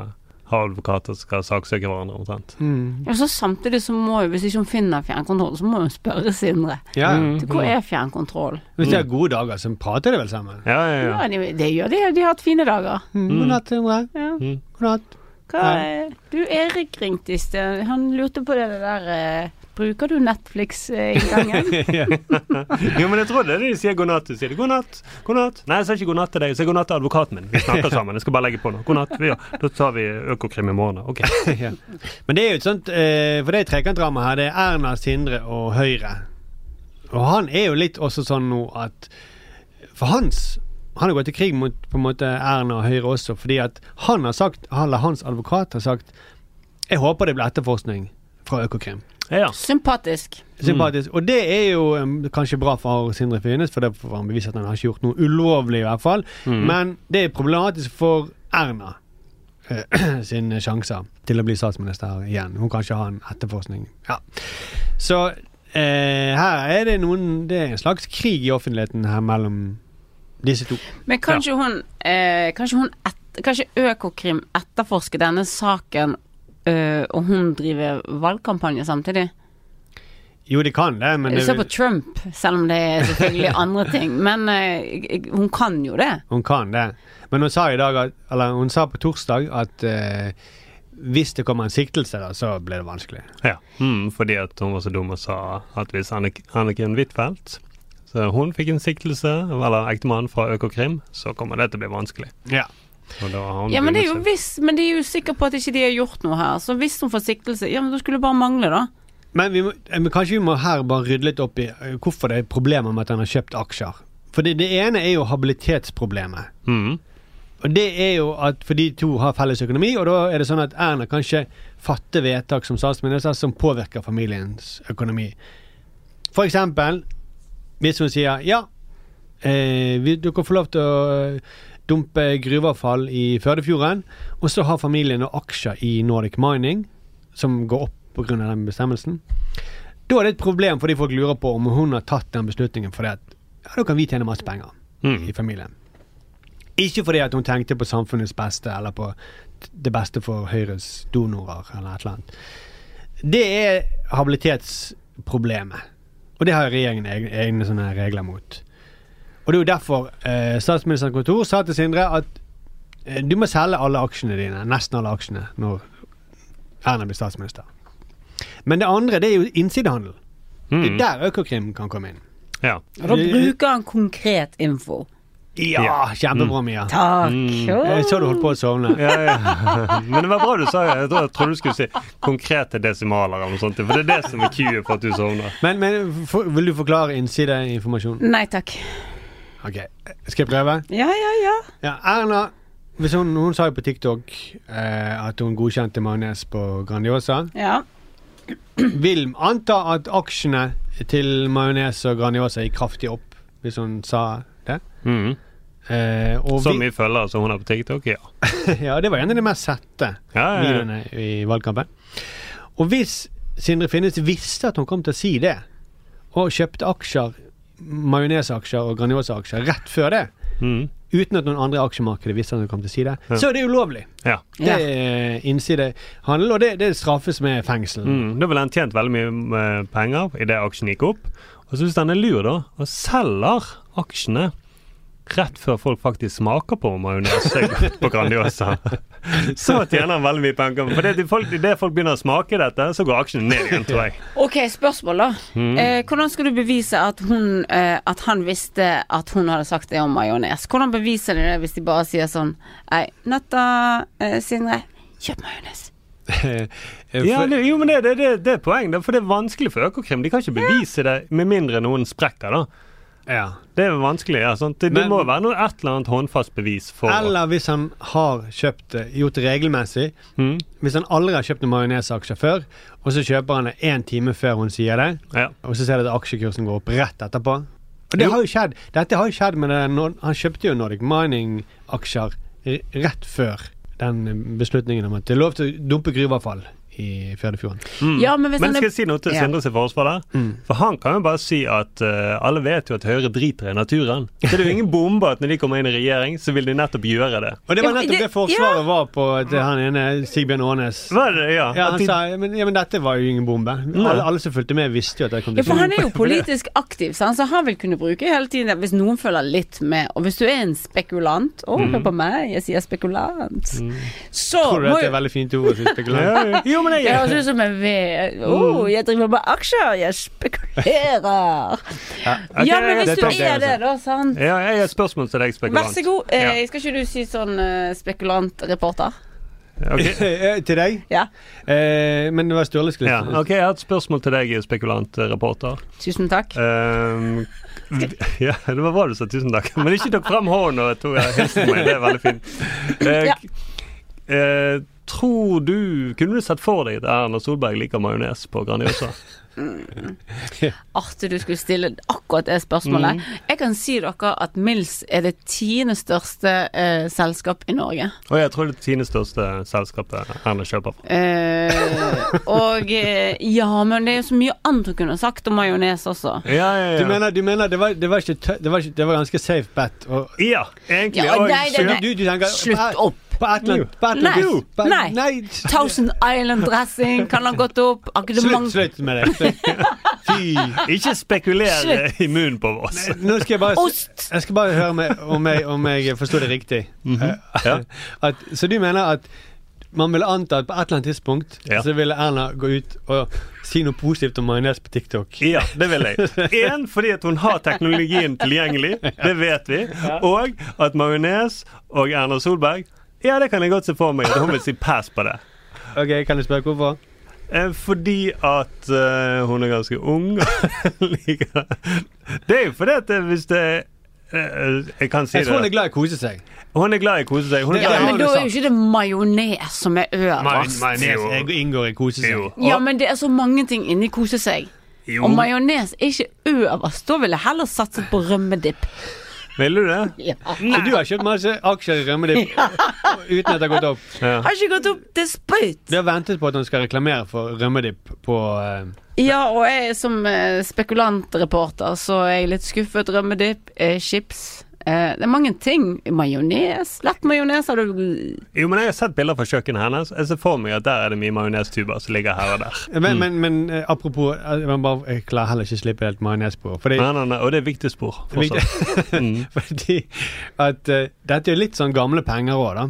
[SPEAKER 3] ha advokater som skal saksøke hverandre. omtrent.
[SPEAKER 5] Mm.
[SPEAKER 2] Og så samtidig så må jo, hvis ikke hun finner fjernkontroll, så må hun spørre Sindre.
[SPEAKER 1] Ja.
[SPEAKER 3] Mm.
[SPEAKER 2] Du, hvor er fjernkontrollen?
[SPEAKER 1] Hvis de har gode dager, så prater de vel sammen.
[SPEAKER 3] Ja, ja, ja.
[SPEAKER 2] Ja, de, det gjør de, de har hatt fine dager.
[SPEAKER 1] God natt, Sindre.
[SPEAKER 2] Ja.
[SPEAKER 1] God natt.
[SPEAKER 2] Hva, eh, du, Erik ringte i sted, han lurte på det der eh, Bruker du Netflix eh, i gangen?
[SPEAKER 3] Jo, men jeg tror det er det de sier god natt. Du sier det. god natt, god natt. Nei, jeg sa ikke god natt til deg, jeg sa god natt til advokaten min. Vi snakker sammen. Jeg skal bare legge på nå. God natt. Vi, ja. Da tar vi Økokrim i morgen. da. Ok.
[SPEAKER 1] ja. Men det er jo et sånt eh, For det trekantdramaet her, det er Erna, Sindre og Høyre. Og han er jo litt også sånn nå at For hans Han har gått til krig mot på en måte Erna og Høyre også, fordi at han har sagt, eller hans advokat har sagt Jeg håper det blir etterforskning fra Økokrim.
[SPEAKER 3] Ja.
[SPEAKER 2] Sympatisk.
[SPEAKER 1] Sympatisk. Og det er jo um, kanskje bra for Sindre Finnes, for det får han bevise at han har ikke gjort noe ulovlig, i hvert fall. Men det er problematisk for Erna eh, sine sjanser til å bli statsminister igjen. Hun kan ikke ha en etterforskning. Ja. Så eh, her er det noen Det er en slags krig i offentligheten her mellom disse to.
[SPEAKER 2] Men kanskje hun, eh, kanskje, hun et, kanskje Økokrim etterforsker denne saken, eh, og hun driver valgkampanje samtidig?
[SPEAKER 1] Jo, de kan det, men
[SPEAKER 2] Du
[SPEAKER 1] det,
[SPEAKER 2] ser på Trump, selv om det er selvfølgelig andre ting. Men eh, hun kan jo det.
[SPEAKER 1] Hun kan det. Men hun sa i dag at, Eller hun sa på torsdag at eh, hvis det kommer en siktelse, da, så blir det vanskelig.
[SPEAKER 3] ja. Mm, fordi at hun var så dum og sa at hvis Annik Anniken Huitfeldt så hun fikk en siktelse, eller ektemann fra Økokrim, så kommer det til å bli vanskelig.
[SPEAKER 1] Ja.
[SPEAKER 3] Og da har hun
[SPEAKER 2] Ja, men det er jo
[SPEAKER 3] begynt å se-
[SPEAKER 2] hvis, men de er jo sikre på at ikke de har gjort noe her. Så hvis hun får siktelse, ja, men da skulle det bare mangle, da.
[SPEAKER 1] Men, vi må, eh, men kanskje vi må her bare rydde litt opp i eh, hvorfor det er problemer med at han har kjøpt aksjer. For det, det ene er jo habilitetsproblemet.
[SPEAKER 3] Mhm.
[SPEAKER 1] Og det er jo at For de to har felles økonomi, og da er det sånn at Erna kan ikke fatte vedtak som statsminister som påvirker familiens økonomi. For eksempel hvis hun sier ja, eh, vi, dere får lov til å eh, dumpe gruveavfall i Førdefjorden, og så har familien noen aksjer i Nordic Mining som går opp pga. den bestemmelsen. Da er det et problem fordi folk lurer på om hun har tatt den beslutningen fordi at ja, da kan vi tjene masse penger
[SPEAKER 3] Hmm. mm,
[SPEAKER 1] i familien. Ikke fordi at hun tenkte på samfunnets beste eller på t- det beste for Høyres donorer eller et eller annet. Det er habilitetsproblemet. Og det har regjeringen egne, egne sånne regler mot. Og det er jo derfor eh, statsministerens kontor sa til Sindre at eh, du må selge alle aksjene dine, nesten alle aksjene, når Erna blir statsminister. Men det andre, det er jo innsidehandel. Det er der Økokrim kan komme inn.
[SPEAKER 3] Ja.
[SPEAKER 2] Da bruker han konkret info.
[SPEAKER 1] Ja, kjempebra, Mia.
[SPEAKER 2] Takk.
[SPEAKER 1] Jeg så du holdt på å sovne.
[SPEAKER 3] Ja, ja. Men det var bra du sa det. Jeg tror- jeg trodde du skulle si konkrete desimaler eller noe sånt. For det er det som er cue for at du sovner.
[SPEAKER 1] Men, men for, vil du forklare innsideinformasjonen?
[SPEAKER 2] Nei takk.
[SPEAKER 1] Ok, Skal jeg prøve?
[SPEAKER 2] Ja, ja, ja.
[SPEAKER 1] Ja, Erna hvis hun, hun sa jo på TikTok eh, at hun godkjente majones på Grandiosa.
[SPEAKER 2] ja.
[SPEAKER 1] Vil anta at aksjene til majones og Grandiosa gikk kraftig opp, hvis hun sa det.
[SPEAKER 3] Mhm.
[SPEAKER 1] Eh, og
[SPEAKER 3] Så
[SPEAKER 1] vi-
[SPEAKER 3] mye følgere som hun har på TikTok, ja.
[SPEAKER 1] Ja, det var en av de mest sette
[SPEAKER 3] Ja, ja, ja.
[SPEAKER 1] videoene i valgkampen. Og hvis Sindre Finnes visste at hun kom til å si det, og kjøpte aksjer, majonesaksjer og Grandiosa-aksjer rett før det,
[SPEAKER 3] Mhm.
[SPEAKER 1] uten at noen andre i aksjemarkedet visste at hun kom til å si det, så er det ulovlig.
[SPEAKER 3] ja.
[SPEAKER 1] Det er innsidehandel, og det, det straffes med fengsel.
[SPEAKER 3] Mm, da ville han tjent veldig mye eh, penger idet aksjen gikk opp. Og så hvis han er lur, da, og selger aksjene rett før folk faktisk smaker på majones på Grandiosa, så tjener han veldig mye penger. For det, de folk, det folk begynner å smake dette, så går aksjene ned igjen, tror jeg.
[SPEAKER 2] Ok, spørsmål, da.
[SPEAKER 3] Mm.
[SPEAKER 2] Eh, hvordan skal du bevise at, hun, eh, at han visste at hun hadde sagt det om majones? Hvordan beviser de det hvis de bare sier sånn Nei, Natta, eh, Sindre, kjøp majones.
[SPEAKER 3] Ja, det, jo, men det, det, det, det er poeng, da, for det er vanskelig for Økokrim. De kan ikke bevise det med mindre noen sprekker, da.
[SPEAKER 1] Ja.
[SPEAKER 3] Det er vanskelig. ja, sant? Det, det
[SPEAKER 1] Men-
[SPEAKER 3] må være noe, et eller annet håndfast bevis for
[SPEAKER 1] Eller hvis han har kjøpt det, gjort det regelmessig.
[SPEAKER 3] Mhm.
[SPEAKER 1] Hvis han aldri har kjøpt noen majonesaksjer før, og så kjøper han det én time før hun sier det,
[SPEAKER 3] ja.
[SPEAKER 1] og så ser du at aksjekursen går opp rett etterpå. Og det har jo skjedd. Dette har jo skjedd med det. Nord- Han kjøpte jo Nordic Mining-aksjer r- rett før den eh, beslutningen om at det er lov til å dumpe gruveavfall i Førdefjorden.
[SPEAKER 2] Ja, men hvis
[SPEAKER 3] Mm. Men
[SPEAKER 2] han
[SPEAKER 3] skal
[SPEAKER 2] er
[SPEAKER 3] jeg si noe til
[SPEAKER 2] Ja. Mm.
[SPEAKER 3] Sindre sitt forsvar der? For han kan jo bare si at eh, alle vet jo at Høyre driter i naturen. Så det er jo ingen bombe at når de kommer inn i regjering, så vil de nettopp gjøre det.
[SPEAKER 1] Og det var
[SPEAKER 2] Ja,
[SPEAKER 1] nettopp
[SPEAKER 2] det-
[SPEAKER 1] det forsvaret var på til han ene Sigbjørn Aanes.
[SPEAKER 3] Hva er det, ja?
[SPEAKER 1] Ja,
[SPEAKER 3] At
[SPEAKER 1] han
[SPEAKER 3] de,
[SPEAKER 1] sa ja men, ja, men dette var jo ingen bombe. Alle, alle som fulgte med, visste jo at det kom
[SPEAKER 2] ja,
[SPEAKER 1] til å
[SPEAKER 2] for han er jo politisk aktiv, sant? så han vil kunne bruke hele tiden Hvis noen følger litt med, og hvis du er en spekulant Å, hør på meg, jeg sier spekulant. Så
[SPEAKER 1] Tror du
[SPEAKER 2] må
[SPEAKER 1] at det
[SPEAKER 2] jo
[SPEAKER 1] er veldig fint ord? synes jeg,
[SPEAKER 3] ja,
[SPEAKER 1] Glenn?
[SPEAKER 3] ja. jo, men
[SPEAKER 2] Det
[SPEAKER 3] jeg,
[SPEAKER 2] høres ut som en V. Å, jeg driver med aksjer, jeg spekulerer.
[SPEAKER 3] ok,
[SPEAKER 2] Ja, men hvis
[SPEAKER 3] det
[SPEAKER 2] du
[SPEAKER 3] tar
[SPEAKER 2] er
[SPEAKER 3] jeg
[SPEAKER 2] det,
[SPEAKER 3] også.
[SPEAKER 2] da, sant.
[SPEAKER 3] ja, jeg har et spørsmål til deg, spekulant.
[SPEAKER 2] Vær så god. Eh,
[SPEAKER 3] Ja.
[SPEAKER 2] skal ikke du si sånn eh, spekulantreporter?
[SPEAKER 3] Ok.
[SPEAKER 1] Eh, til deg?
[SPEAKER 2] Ja.
[SPEAKER 1] Eh, men det var Sturle skulle
[SPEAKER 3] Ja, ok, Jeg har et spørsmål til deg, eh, spekulantreporter.
[SPEAKER 2] Tusen takk.
[SPEAKER 3] Um, ja, det var bra du sa tusen takk. Men ikke tok fram hånden og tok hilsen meg. Det er veldig fint. Eh,
[SPEAKER 2] Ja.
[SPEAKER 3] eh, tror du Kunne du sett for deg at Erna Solberg liker majones på Grandiosa?
[SPEAKER 2] Artig du skulle stille akkurat det spørsmålet. Jeg kan si dere at Mills er det tiende største eh, selskap i Norge.
[SPEAKER 3] Og jeg tror det er Tines største selskapet Erna kjøper fra.
[SPEAKER 2] Eh, og eh, ja, men det er jo så mye annet hun kunne sagt om majones også.
[SPEAKER 3] Ja, ja, ja.
[SPEAKER 1] Du mener, du mener det, var, det, var ikke tø det, var ikke, det var ganske safe bet? Og,
[SPEAKER 3] ja egentlig.
[SPEAKER 2] Ja,
[SPEAKER 3] og-
[SPEAKER 2] nei, det-
[SPEAKER 1] du,
[SPEAKER 2] nei.
[SPEAKER 1] du, du tenker,
[SPEAKER 2] Slutt
[SPEAKER 1] på-
[SPEAKER 2] opp.
[SPEAKER 1] På et eller annet- på et eller
[SPEAKER 2] Nei.
[SPEAKER 1] annet vis- på-
[SPEAKER 2] Nei.
[SPEAKER 1] nei.
[SPEAKER 2] Thousand Island dressing kan ha gått opp.
[SPEAKER 1] Slutt,
[SPEAKER 2] Akadement
[SPEAKER 1] slutt med det. Slutt. Fy.
[SPEAKER 3] Ikke spekuler i munnen på oss.
[SPEAKER 1] Nå skal jeg bare,
[SPEAKER 2] Ost.
[SPEAKER 1] Jeg skal bare høre om jeg, om jeg, om jeg forsto det riktig.
[SPEAKER 3] Mhm.
[SPEAKER 1] Eh,
[SPEAKER 3] Ja.
[SPEAKER 1] at, så du mener at man ville anta at på et eller annet tidspunkt
[SPEAKER 3] Ja.
[SPEAKER 1] så ville Erna gå ut og si noe positivt om majones på TikTok?
[SPEAKER 3] Ja, det vil jeg. Én, fordi at hun har teknologien tilgjengelig, det vet vi. Og at majones og Erna Solberg Ja, det kan jeg godt se for meg at hun vil si pass på det.
[SPEAKER 1] Ok, Kan jeg spørre hvorfor?
[SPEAKER 3] Eh, Fordi at eh, hun er ganske ung. og liker det. Det er jo fordi at det- hvis det eh, Jeg kan si
[SPEAKER 1] Jeg tror hun er
[SPEAKER 3] det.
[SPEAKER 1] glad i å kose seg.
[SPEAKER 3] Hun er glad i å kose seg. Hun er
[SPEAKER 1] Det-
[SPEAKER 2] Ja,
[SPEAKER 3] glad i
[SPEAKER 2] men da er jo ikke det majones som er øverst.
[SPEAKER 1] Jeg inngår i kose seg.
[SPEAKER 3] Jo.
[SPEAKER 2] Ja, men det er så mange ting inni kose seg.
[SPEAKER 3] Jo.
[SPEAKER 2] Og majones er ikke øverst. Da ville jeg heller satset på rømmedipp.
[SPEAKER 3] Vil du det?
[SPEAKER 2] Ja.
[SPEAKER 1] Så du har kjøpt masse aksjer i Rømmedipp uten at det har gått opp?
[SPEAKER 3] Ja.
[SPEAKER 2] Har ikke gått opp til sprøyt.
[SPEAKER 1] Du har ventet på at hun skal reklamere for Rømmedipp på eh,
[SPEAKER 2] Ja, og jeg som eh, spekulantreporter, så er jeg litt skuffet. Rømmedipp, eh, chips. Eh, det er mange ting. Majones. Lett majones har du
[SPEAKER 3] Jo, men jeg har sett bilder fra kjøkkenet hennes. Jeg ser for meg at der er det mye majonestuber som ligger her og der.
[SPEAKER 1] Men, men, men eh, apropos eh, jeg, må bare, jeg klarer heller ikke å slippe helt majones på. Fordi,
[SPEAKER 3] Nei, nei, nei, og det er viktig spor.
[SPEAKER 1] Viktig.
[SPEAKER 3] fortsatt. Mm.
[SPEAKER 1] fordi at eh, dette er litt sånn gamle penger òg, da.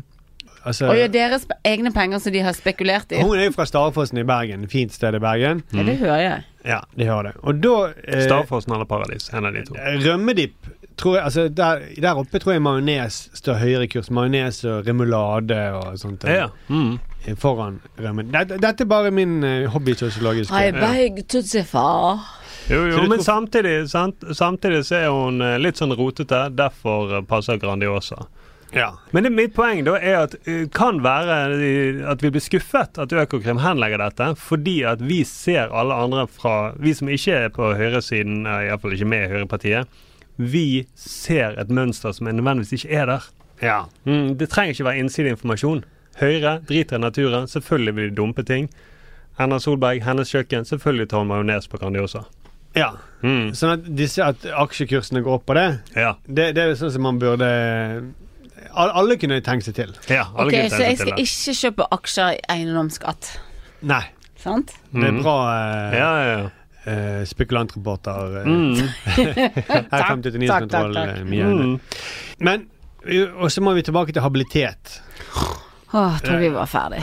[SPEAKER 1] Altså,
[SPEAKER 2] Og jo, deres pe- egne penger som de har spekulert i.
[SPEAKER 1] hun er jo fra Starfossen i Bergen. Fint sted i Bergen.
[SPEAKER 2] Ja, det hører jeg.
[SPEAKER 1] Ja, de har det. Og da eh,
[SPEAKER 3] Stavfossen eller Paradis. En av de to.
[SPEAKER 1] Rømmedipp tror jeg, altså der, der oppe tror jeg majones står høyere i kurs. Majones og remulade og sånt. eh,
[SPEAKER 3] Ja. Mm.
[SPEAKER 1] Foran rømmen. Dette, dette er bare min eh, hobby-sosiologiske
[SPEAKER 2] beg tutsi fa.
[SPEAKER 1] Så
[SPEAKER 3] Jo, jo,
[SPEAKER 1] du
[SPEAKER 3] men
[SPEAKER 1] tror-
[SPEAKER 3] samtidig, sant? samtidig så er hun eh, litt sånn rotete. Derfor eh, passer Grandiosa.
[SPEAKER 1] Ja.
[SPEAKER 3] Men det, mitt poeng da er at eh, kan være eh, at vi blir skuffet at Økokrim henlegger dette, fordi at vi ser alle andre fra Vi som ikke er på høyresiden, iallfall ikke med i høyrepartiet, vi ser et mønster som er nødvendigvis ikke er der.
[SPEAKER 1] ja.
[SPEAKER 3] Mm, det trenger ikke være innsideinformasjon. Høyre driter i naturen, selvfølgelig vil de dumpe ting. Erna Solberg, hennes kjøkken, selvfølgelig tar hun majones på Grandiosa.
[SPEAKER 1] ja.
[SPEAKER 3] Mm.
[SPEAKER 1] Sånn at disse at aksjekursene går opp på det,
[SPEAKER 3] Ja,
[SPEAKER 1] det, det er jo sånn som man burde al- Alle kunne tenkt seg til.
[SPEAKER 3] ja alle
[SPEAKER 2] Ok,
[SPEAKER 3] kunne
[SPEAKER 2] så jeg
[SPEAKER 3] tenke seg til
[SPEAKER 2] skal
[SPEAKER 3] det.
[SPEAKER 2] ikke kjøpe aksjer i eiendomsskatt.
[SPEAKER 1] Nei.
[SPEAKER 2] Sant?
[SPEAKER 1] Det er bra eh,
[SPEAKER 3] Mm. Ja, ja, ja.
[SPEAKER 1] eh, spekulantreporter. Eh,
[SPEAKER 3] Mm.
[SPEAKER 1] Her 50 til
[SPEAKER 2] Takk, takk,
[SPEAKER 1] 900-kontroll.
[SPEAKER 2] takk.
[SPEAKER 1] eh, mye.
[SPEAKER 3] Mm.
[SPEAKER 1] Men eh, Og så må vi tilbake til habilitet.
[SPEAKER 2] Åh, tror vi var ferdig.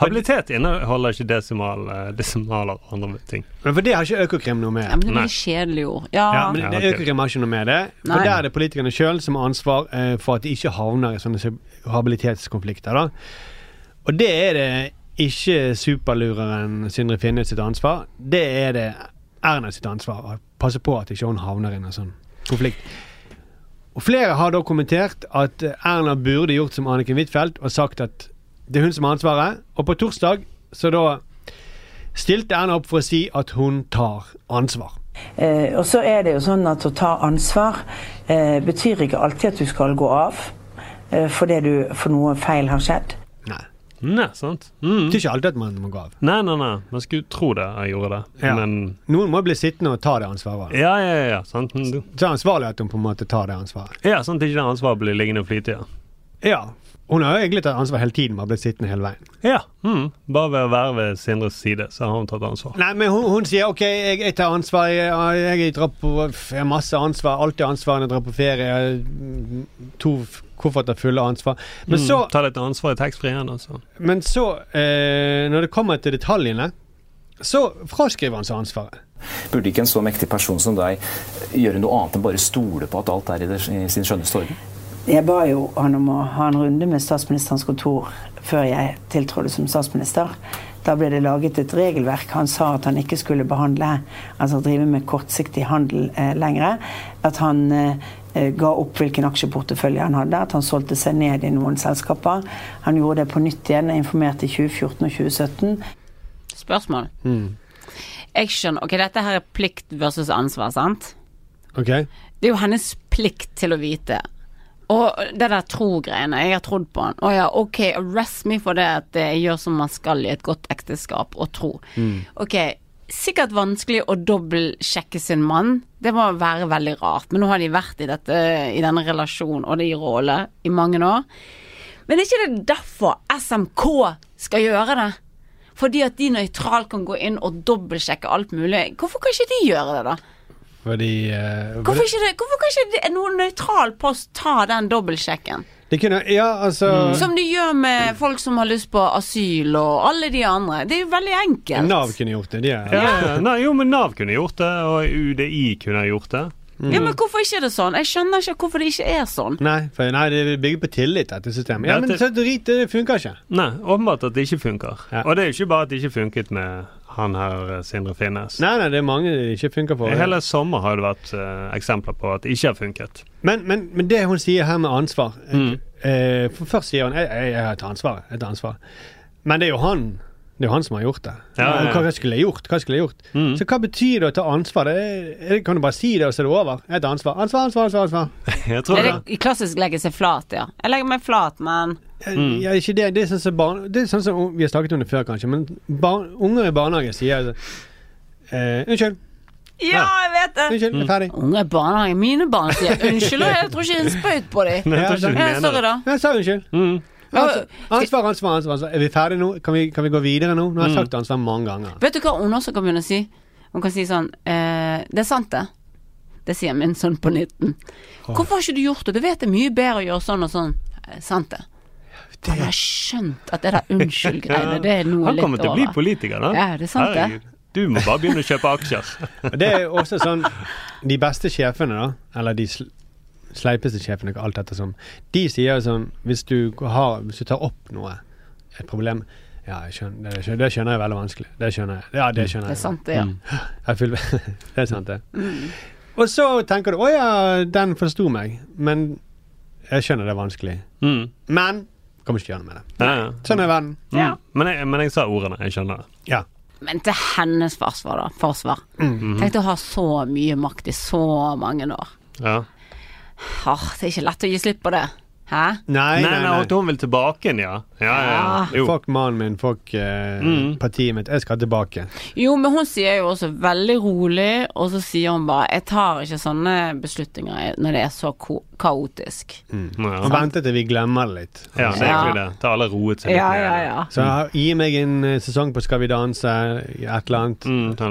[SPEAKER 3] Habilitet inneholder ikke desimal, eh, desimaler og andre ting.
[SPEAKER 1] Men For det har ikke Økokrim noe med.
[SPEAKER 2] Ja, men det
[SPEAKER 3] Nei.
[SPEAKER 2] blir kjedelige ord. Ja.
[SPEAKER 1] Ja, men det,
[SPEAKER 3] Ja, ok.
[SPEAKER 1] Økokrim har ikke noe med det. For
[SPEAKER 2] Nei.
[SPEAKER 1] Der er det politikerne sjøl som har ansvar eh, for at de ikke havner i sånne sub- habilitetskonflikter. Da. Og det er det ikke superlureren Sindre Finnes sitt ansvar. Det er det Erna sitt ansvar å passe på at ikke hun havner i en sånn konflikt. Og Flere har da kommentert at Erna burde gjort som Anniken Huitfeldt og sagt at det er hun som har ansvaret. Og på torsdag så da stilte Erna opp for å si at hun tar ansvar.
[SPEAKER 5] Eh, og så er det jo sånn at å ta ansvar eh, betyr ikke alltid at du skal gå av eh, fordi du for noe feil har skjedd.
[SPEAKER 1] Nei.
[SPEAKER 3] Nei, sant? Mm.
[SPEAKER 1] Det er ikke alltid at man må gå av.
[SPEAKER 3] Nei, nei, nei. Man skulle tro det jeg gjorde det.
[SPEAKER 1] Ja.
[SPEAKER 3] Men
[SPEAKER 1] Noen må bli sittende og ta det ansvaret.
[SPEAKER 3] ja, ja, ja. Sant? Mm, du-
[SPEAKER 1] Så er det ansvarlig at hun på en måte tar det ansvaret.
[SPEAKER 3] Ja, sant ikke det ansvaret blir liggende og flyte, ja.
[SPEAKER 1] Ja. Hun har jo egentlig tatt ansvar hele tiden, men har blitt sittende hele veien.
[SPEAKER 3] Ja. Mm. Bare ved å være ved Sindres side, så har hun tatt ansvar.
[SPEAKER 1] Nei, men hun, hun sier OK, jeg, jeg tar ansvar, jeg, jeg, drar på, jeg har masse ansvar, alltid ansvar når jeg drar på ferie, jeg har, mm, to f- kofferter fulle av ansvar. Men
[SPEAKER 3] Mm.
[SPEAKER 1] så,
[SPEAKER 3] Ta litt ansvar i taxfree igjen, altså.
[SPEAKER 1] men så eh, når det kommer til detaljene, så fraskriver han seg ansvaret.
[SPEAKER 7] Burde ikke en så mektig person som deg gjøre noe annet enn bare stole på at alt er i, det, i sin skjønneste orden?
[SPEAKER 5] Jeg ba jo han om å ha en runde med statsministerens kontor før jeg tiltrådte som statsminister. Da ble det laget et regelverk. Han sa at han ikke skulle behandle, altså drive med kortsiktig handel eh, lenger. At han eh, eh, ga opp hvilken aksjeportefølje han hadde, at han solgte seg ned i noen selskaper. Han gjorde det på nytt igjen, jeg informerte i 2014 og 2017.
[SPEAKER 2] Spørsmål. Jeg skjønner. Ok, dette her er plikt versus ansvar, sant?
[SPEAKER 1] Ok?
[SPEAKER 2] Det er jo hennes plikt til å vite. Og det der tro-greiene, jeg har trodd på han. Å ja, ok, arrest me for det at jeg gjør som man skal i et godt ekteskap, og tro. Ok, sikkert vanskelig å dobbeltsjekke sin mann. Det må være veldig rart, men nå har de vært i, dette, i denne relasjonen og det i rolle i mange år. Men er ikke det derfor SMK skal gjøre det? Fordi at de nøytralt kan gå inn og dobbeltsjekke alt mulig. Hvorfor kan ikke de gjøre det, da?
[SPEAKER 1] Fordi eh,
[SPEAKER 2] Hvorfor, ikke det, hvorfor kan ikke det, noen nøytral post ta den dobbeltsjekken?
[SPEAKER 1] Det kunne Ja, altså
[SPEAKER 2] Som de gjør med folk som har lyst på asyl og alle de andre. Det er jo veldig enkelt.
[SPEAKER 1] Nav kunne gjort det. De er,
[SPEAKER 3] Ja, ja. Nei, jo, men Nav kunne gjort det, og UDI kunne ha gjort det.
[SPEAKER 2] Ja,
[SPEAKER 3] Mm.
[SPEAKER 2] men hvorfor ikke er det sånn? Jeg skjønner ikke hvorfor det ikke er sånn.
[SPEAKER 1] Nei, for nei, det bygger på tillit, dette systemet. Ja, men
[SPEAKER 3] Dette-
[SPEAKER 1] så drit, det funker ikke.
[SPEAKER 3] Nei, åpenbart at det ikke funker.
[SPEAKER 1] Ja.
[SPEAKER 3] Og det er jo ikke bare at det ikke funket med han her, eh, Sindre Finnes.
[SPEAKER 1] Nei, nei, det er mange det ikke funker for.
[SPEAKER 3] Hele sommer har det vært eh, eksempler på at det ikke har funket.
[SPEAKER 1] Men, men, men det hun sier her med ansvar eh, For Først sier hun jeg, jeg, jeg tar ansvaret. Jeg tar ansvar. Men det er jo han Det er jo han som har gjort det.
[SPEAKER 3] Ja, ja, ja.
[SPEAKER 1] Hva skulle jeg gjort? Hva skulle jeg gjort? Så hva betyr det å ta ansvar? Det er, er det- kan du bare si det, og så er det over? Jeg tar ansvar. Ansvar, ansvar, ansvar. ansvar.
[SPEAKER 3] Jeg tror
[SPEAKER 2] Er
[SPEAKER 3] det.
[SPEAKER 2] det i klassisk legge seg flat, ja. Jeg legger meg flat, men
[SPEAKER 1] Ja, ikke det. Det er sånn som barn... Det er sånn som Vi har snakket om det før, kanskje, men barn, unger i barnehage sier eh, Unnskyld.
[SPEAKER 2] Ja, jeg vet det!
[SPEAKER 1] Unnskyld, jeg er ferdig.
[SPEAKER 2] Unge i barnehagen, mine barn sier unnskyld, og jeg tror ikke en spøyt på dem.
[SPEAKER 3] Nei, jeg tror
[SPEAKER 1] Ja,
[SPEAKER 2] Ja,
[SPEAKER 3] ikke du mener
[SPEAKER 2] sorry,
[SPEAKER 3] det.
[SPEAKER 2] da.
[SPEAKER 1] Jeg sa unnskyld.
[SPEAKER 2] Ja,
[SPEAKER 1] Ansvar, ansvar, ansvar. ansvar. Er vi ferdige nå? Kan vi, kan vi gå videre nå? Nå har jeg sagt ansvar mange ganger.
[SPEAKER 2] Vet du hva hun også kan begynne å si? Hun kan si sånn eh, Det er sant, det. Det sier min sønn på 19. Hvorfor har ikke du gjort det? Du vet det er mye bedre å gjøre sånn og sånn. Eh, sant, det. Han har skjønt at det der unnskyld-greiene, det er noe
[SPEAKER 3] Han
[SPEAKER 2] litt
[SPEAKER 3] kommer til å bli
[SPEAKER 2] over.
[SPEAKER 3] politiker, da.
[SPEAKER 2] Ja, det er sant, det.
[SPEAKER 3] Herregud, Du må bare begynne å kjøpe aksjer.
[SPEAKER 1] Og det er jo også sånn De beste sjefene, da, eller de sl sleipeste sjefene, alt etter som, de sier jo sånn Hvis du, har, hvis du tar opp noe, et problem Ja, jeg skjønner, det, skjønner, det skjønner jeg er veldig vanskelig. Det skjønner jeg. Ja, det skjønner jeg.
[SPEAKER 2] Det er sant, det, ja. Mm.
[SPEAKER 1] Mm. Jeg fyller- det er sant, det. Og så tenker du å ja, den forsto meg, men jeg skjønner det er vanskelig.
[SPEAKER 3] Mm.
[SPEAKER 1] Men kan vi ikke gjøre noe med det.
[SPEAKER 3] Ja, ja.
[SPEAKER 1] Sånn er verden.
[SPEAKER 3] Mm. Men, jeg, men jeg sa ordene. Jeg skjønner det.
[SPEAKER 1] Ja.
[SPEAKER 2] Men til hennes forsvar, da. Forsvar.
[SPEAKER 3] Mhm.
[SPEAKER 2] Tenk å ha så mye makt i så mange år.
[SPEAKER 3] Ja.
[SPEAKER 2] Åh, det er ikke lett å gi slipp på det. Hæ?
[SPEAKER 1] Nei,
[SPEAKER 3] Nei,
[SPEAKER 1] nei,
[SPEAKER 3] nei, at
[SPEAKER 1] nei.
[SPEAKER 3] hun vil tilbake igjen, ja. Ja, ja,
[SPEAKER 2] Ah.
[SPEAKER 3] ja. Jo.
[SPEAKER 1] Fuck mannen min, fuck eh,
[SPEAKER 3] Mm.
[SPEAKER 1] partiet mitt. Jeg skal tilbake.
[SPEAKER 2] Jo, men hun sier jo også veldig rolig, og så sier hun bare 'jeg tar ikke sånne beslutninger når det er så ko kaotisk'.
[SPEAKER 3] Ja.
[SPEAKER 1] Og vente til vi glemmer det litt.
[SPEAKER 3] ja, det er egentlig det. Da har alle roet seg litt
[SPEAKER 2] Ja,
[SPEAKER 3] ned.
[SPEAKER 2] ja, ja.
[SPEAKER 3] Mm.
[SPEAKER 1] Så gi meg en eh, sesong på Skal vi danse, et eller annet.
[SPEAKER 3] Mm, til-
[SPEAKER 1] Ta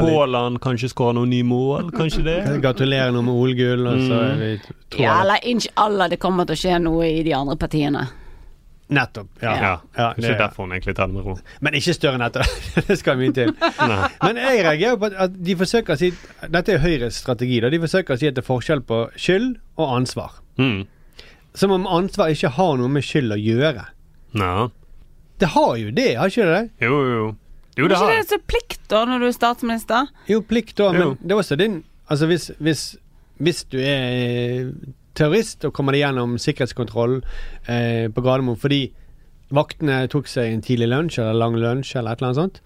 [SPEAKER 1] litt.
[SPEAKER 3] Haaland kanskje skårer noen nye mål, kanskje det?
[SPEAKER 1] Gratulerer nå med OL-gull, og så er vi
[SPEAKER 3] Mm.
[SPEAKER 1] tror
[SPEAKER 2] Ja,
[SPEAKER 1] jeg-
[SPEAKER 2] eller inshallah, det kommer til å skje noe i de andre partiene.
[SPEAKER 1] Nettopp. Ja.
[SPEAKER 3] Ja,
[SPEAKER 1] Ja,
[SPEAKER 3] det
[SPEAKER 1] det-
[SPEAKER 3] er derfor hun egentlig tar det med ro.
[SPEAKER 1] Men ikke større enn dette. det skal mye til.
[SPEAKER 3] Nei.
[SPEAKER 1] Men jeg reagerer på at- at de forsøker å si Dette er Høyres strategi. da De forsøker å si at det er forskjell på skyld og ansvar.
[SPEAKER 3] Mm.
[SPEAKER 1] Som om ansvar ikke har noe med skyld å gjøre.
[SPEAKER 3] Ja.
[SPEAKER 1] Det har jo det, har ikke det?
[SPEAKER 3] Jo, jo. Jo,
[SPEAKER 2] Men
[SPEAKER 3] det
[SPEAKER 2] ikke
[SPEAKER 3] har
[SPEAKER 2] det er
[SPEAKER 3] jeg.
[SPEAKER 2] så plikt da, når du er statsminister?
[SPEAKER 1] Jo, plikt da, men
[SPEAKER 3] Jo.
[SPEAKER 1] det er også din Altså hvis, hvis, hvis du er eh, terrorist og kommer deg gjennom sikkerhetskontrollen eh, på Gardermoen fordi vaktene tok seg en tidlig lunsj eller lang lunsj eller et eller annet sånt,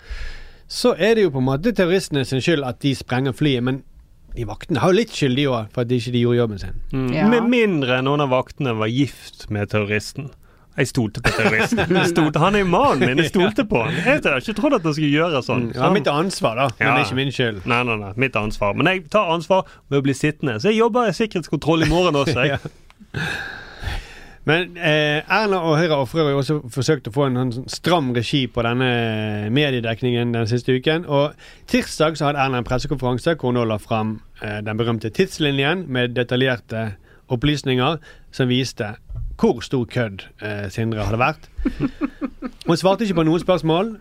[SPEAKER 1] så er det jo på en måte terroristene sin skyld at de sprenger flyet, men de vaktene har jo litt skyld de òg, for at de ikke de gjorde jobben sin.
[SPEAKER 3] Mm.
[SPEAKER 2] Ja.
[SPEAKER 3] Med mindre noen av vaktene var gift med terroristen. Jeg stolte på terroristen. Jeg stolte, han er mannen min, jeg stolte på han. Jeg har ikke trodd at han skulle gjøre sånn.
[SPEAKER 1] Det var mitt ansvar, da, men
[SPEAKER 3] Ja.
[SPEAKER 1] det er ikke min skyld.
[SPEAKER 3] Nei, nei, nei, mitt ansvar. Men jeg tar ansvar med å bli sittende. Så jeg jobber i sikkerhetskontroll i morgen også. Jeg.
[SPEAKER 1] Men eh, Erna og Høyre ofrer har jo også forsøkt å få en sånn stram regi på denne eh, mediedekningen den siste uken. Og tirsdag så hadde Erna en pressekonferanse hvor hun nå la fram eh, den berømte tidslinjen med detaljerte opplysninger som viste hvor stor kødd eh, Sindre hadde vært. Hun svarte ikke på noen spørsmål.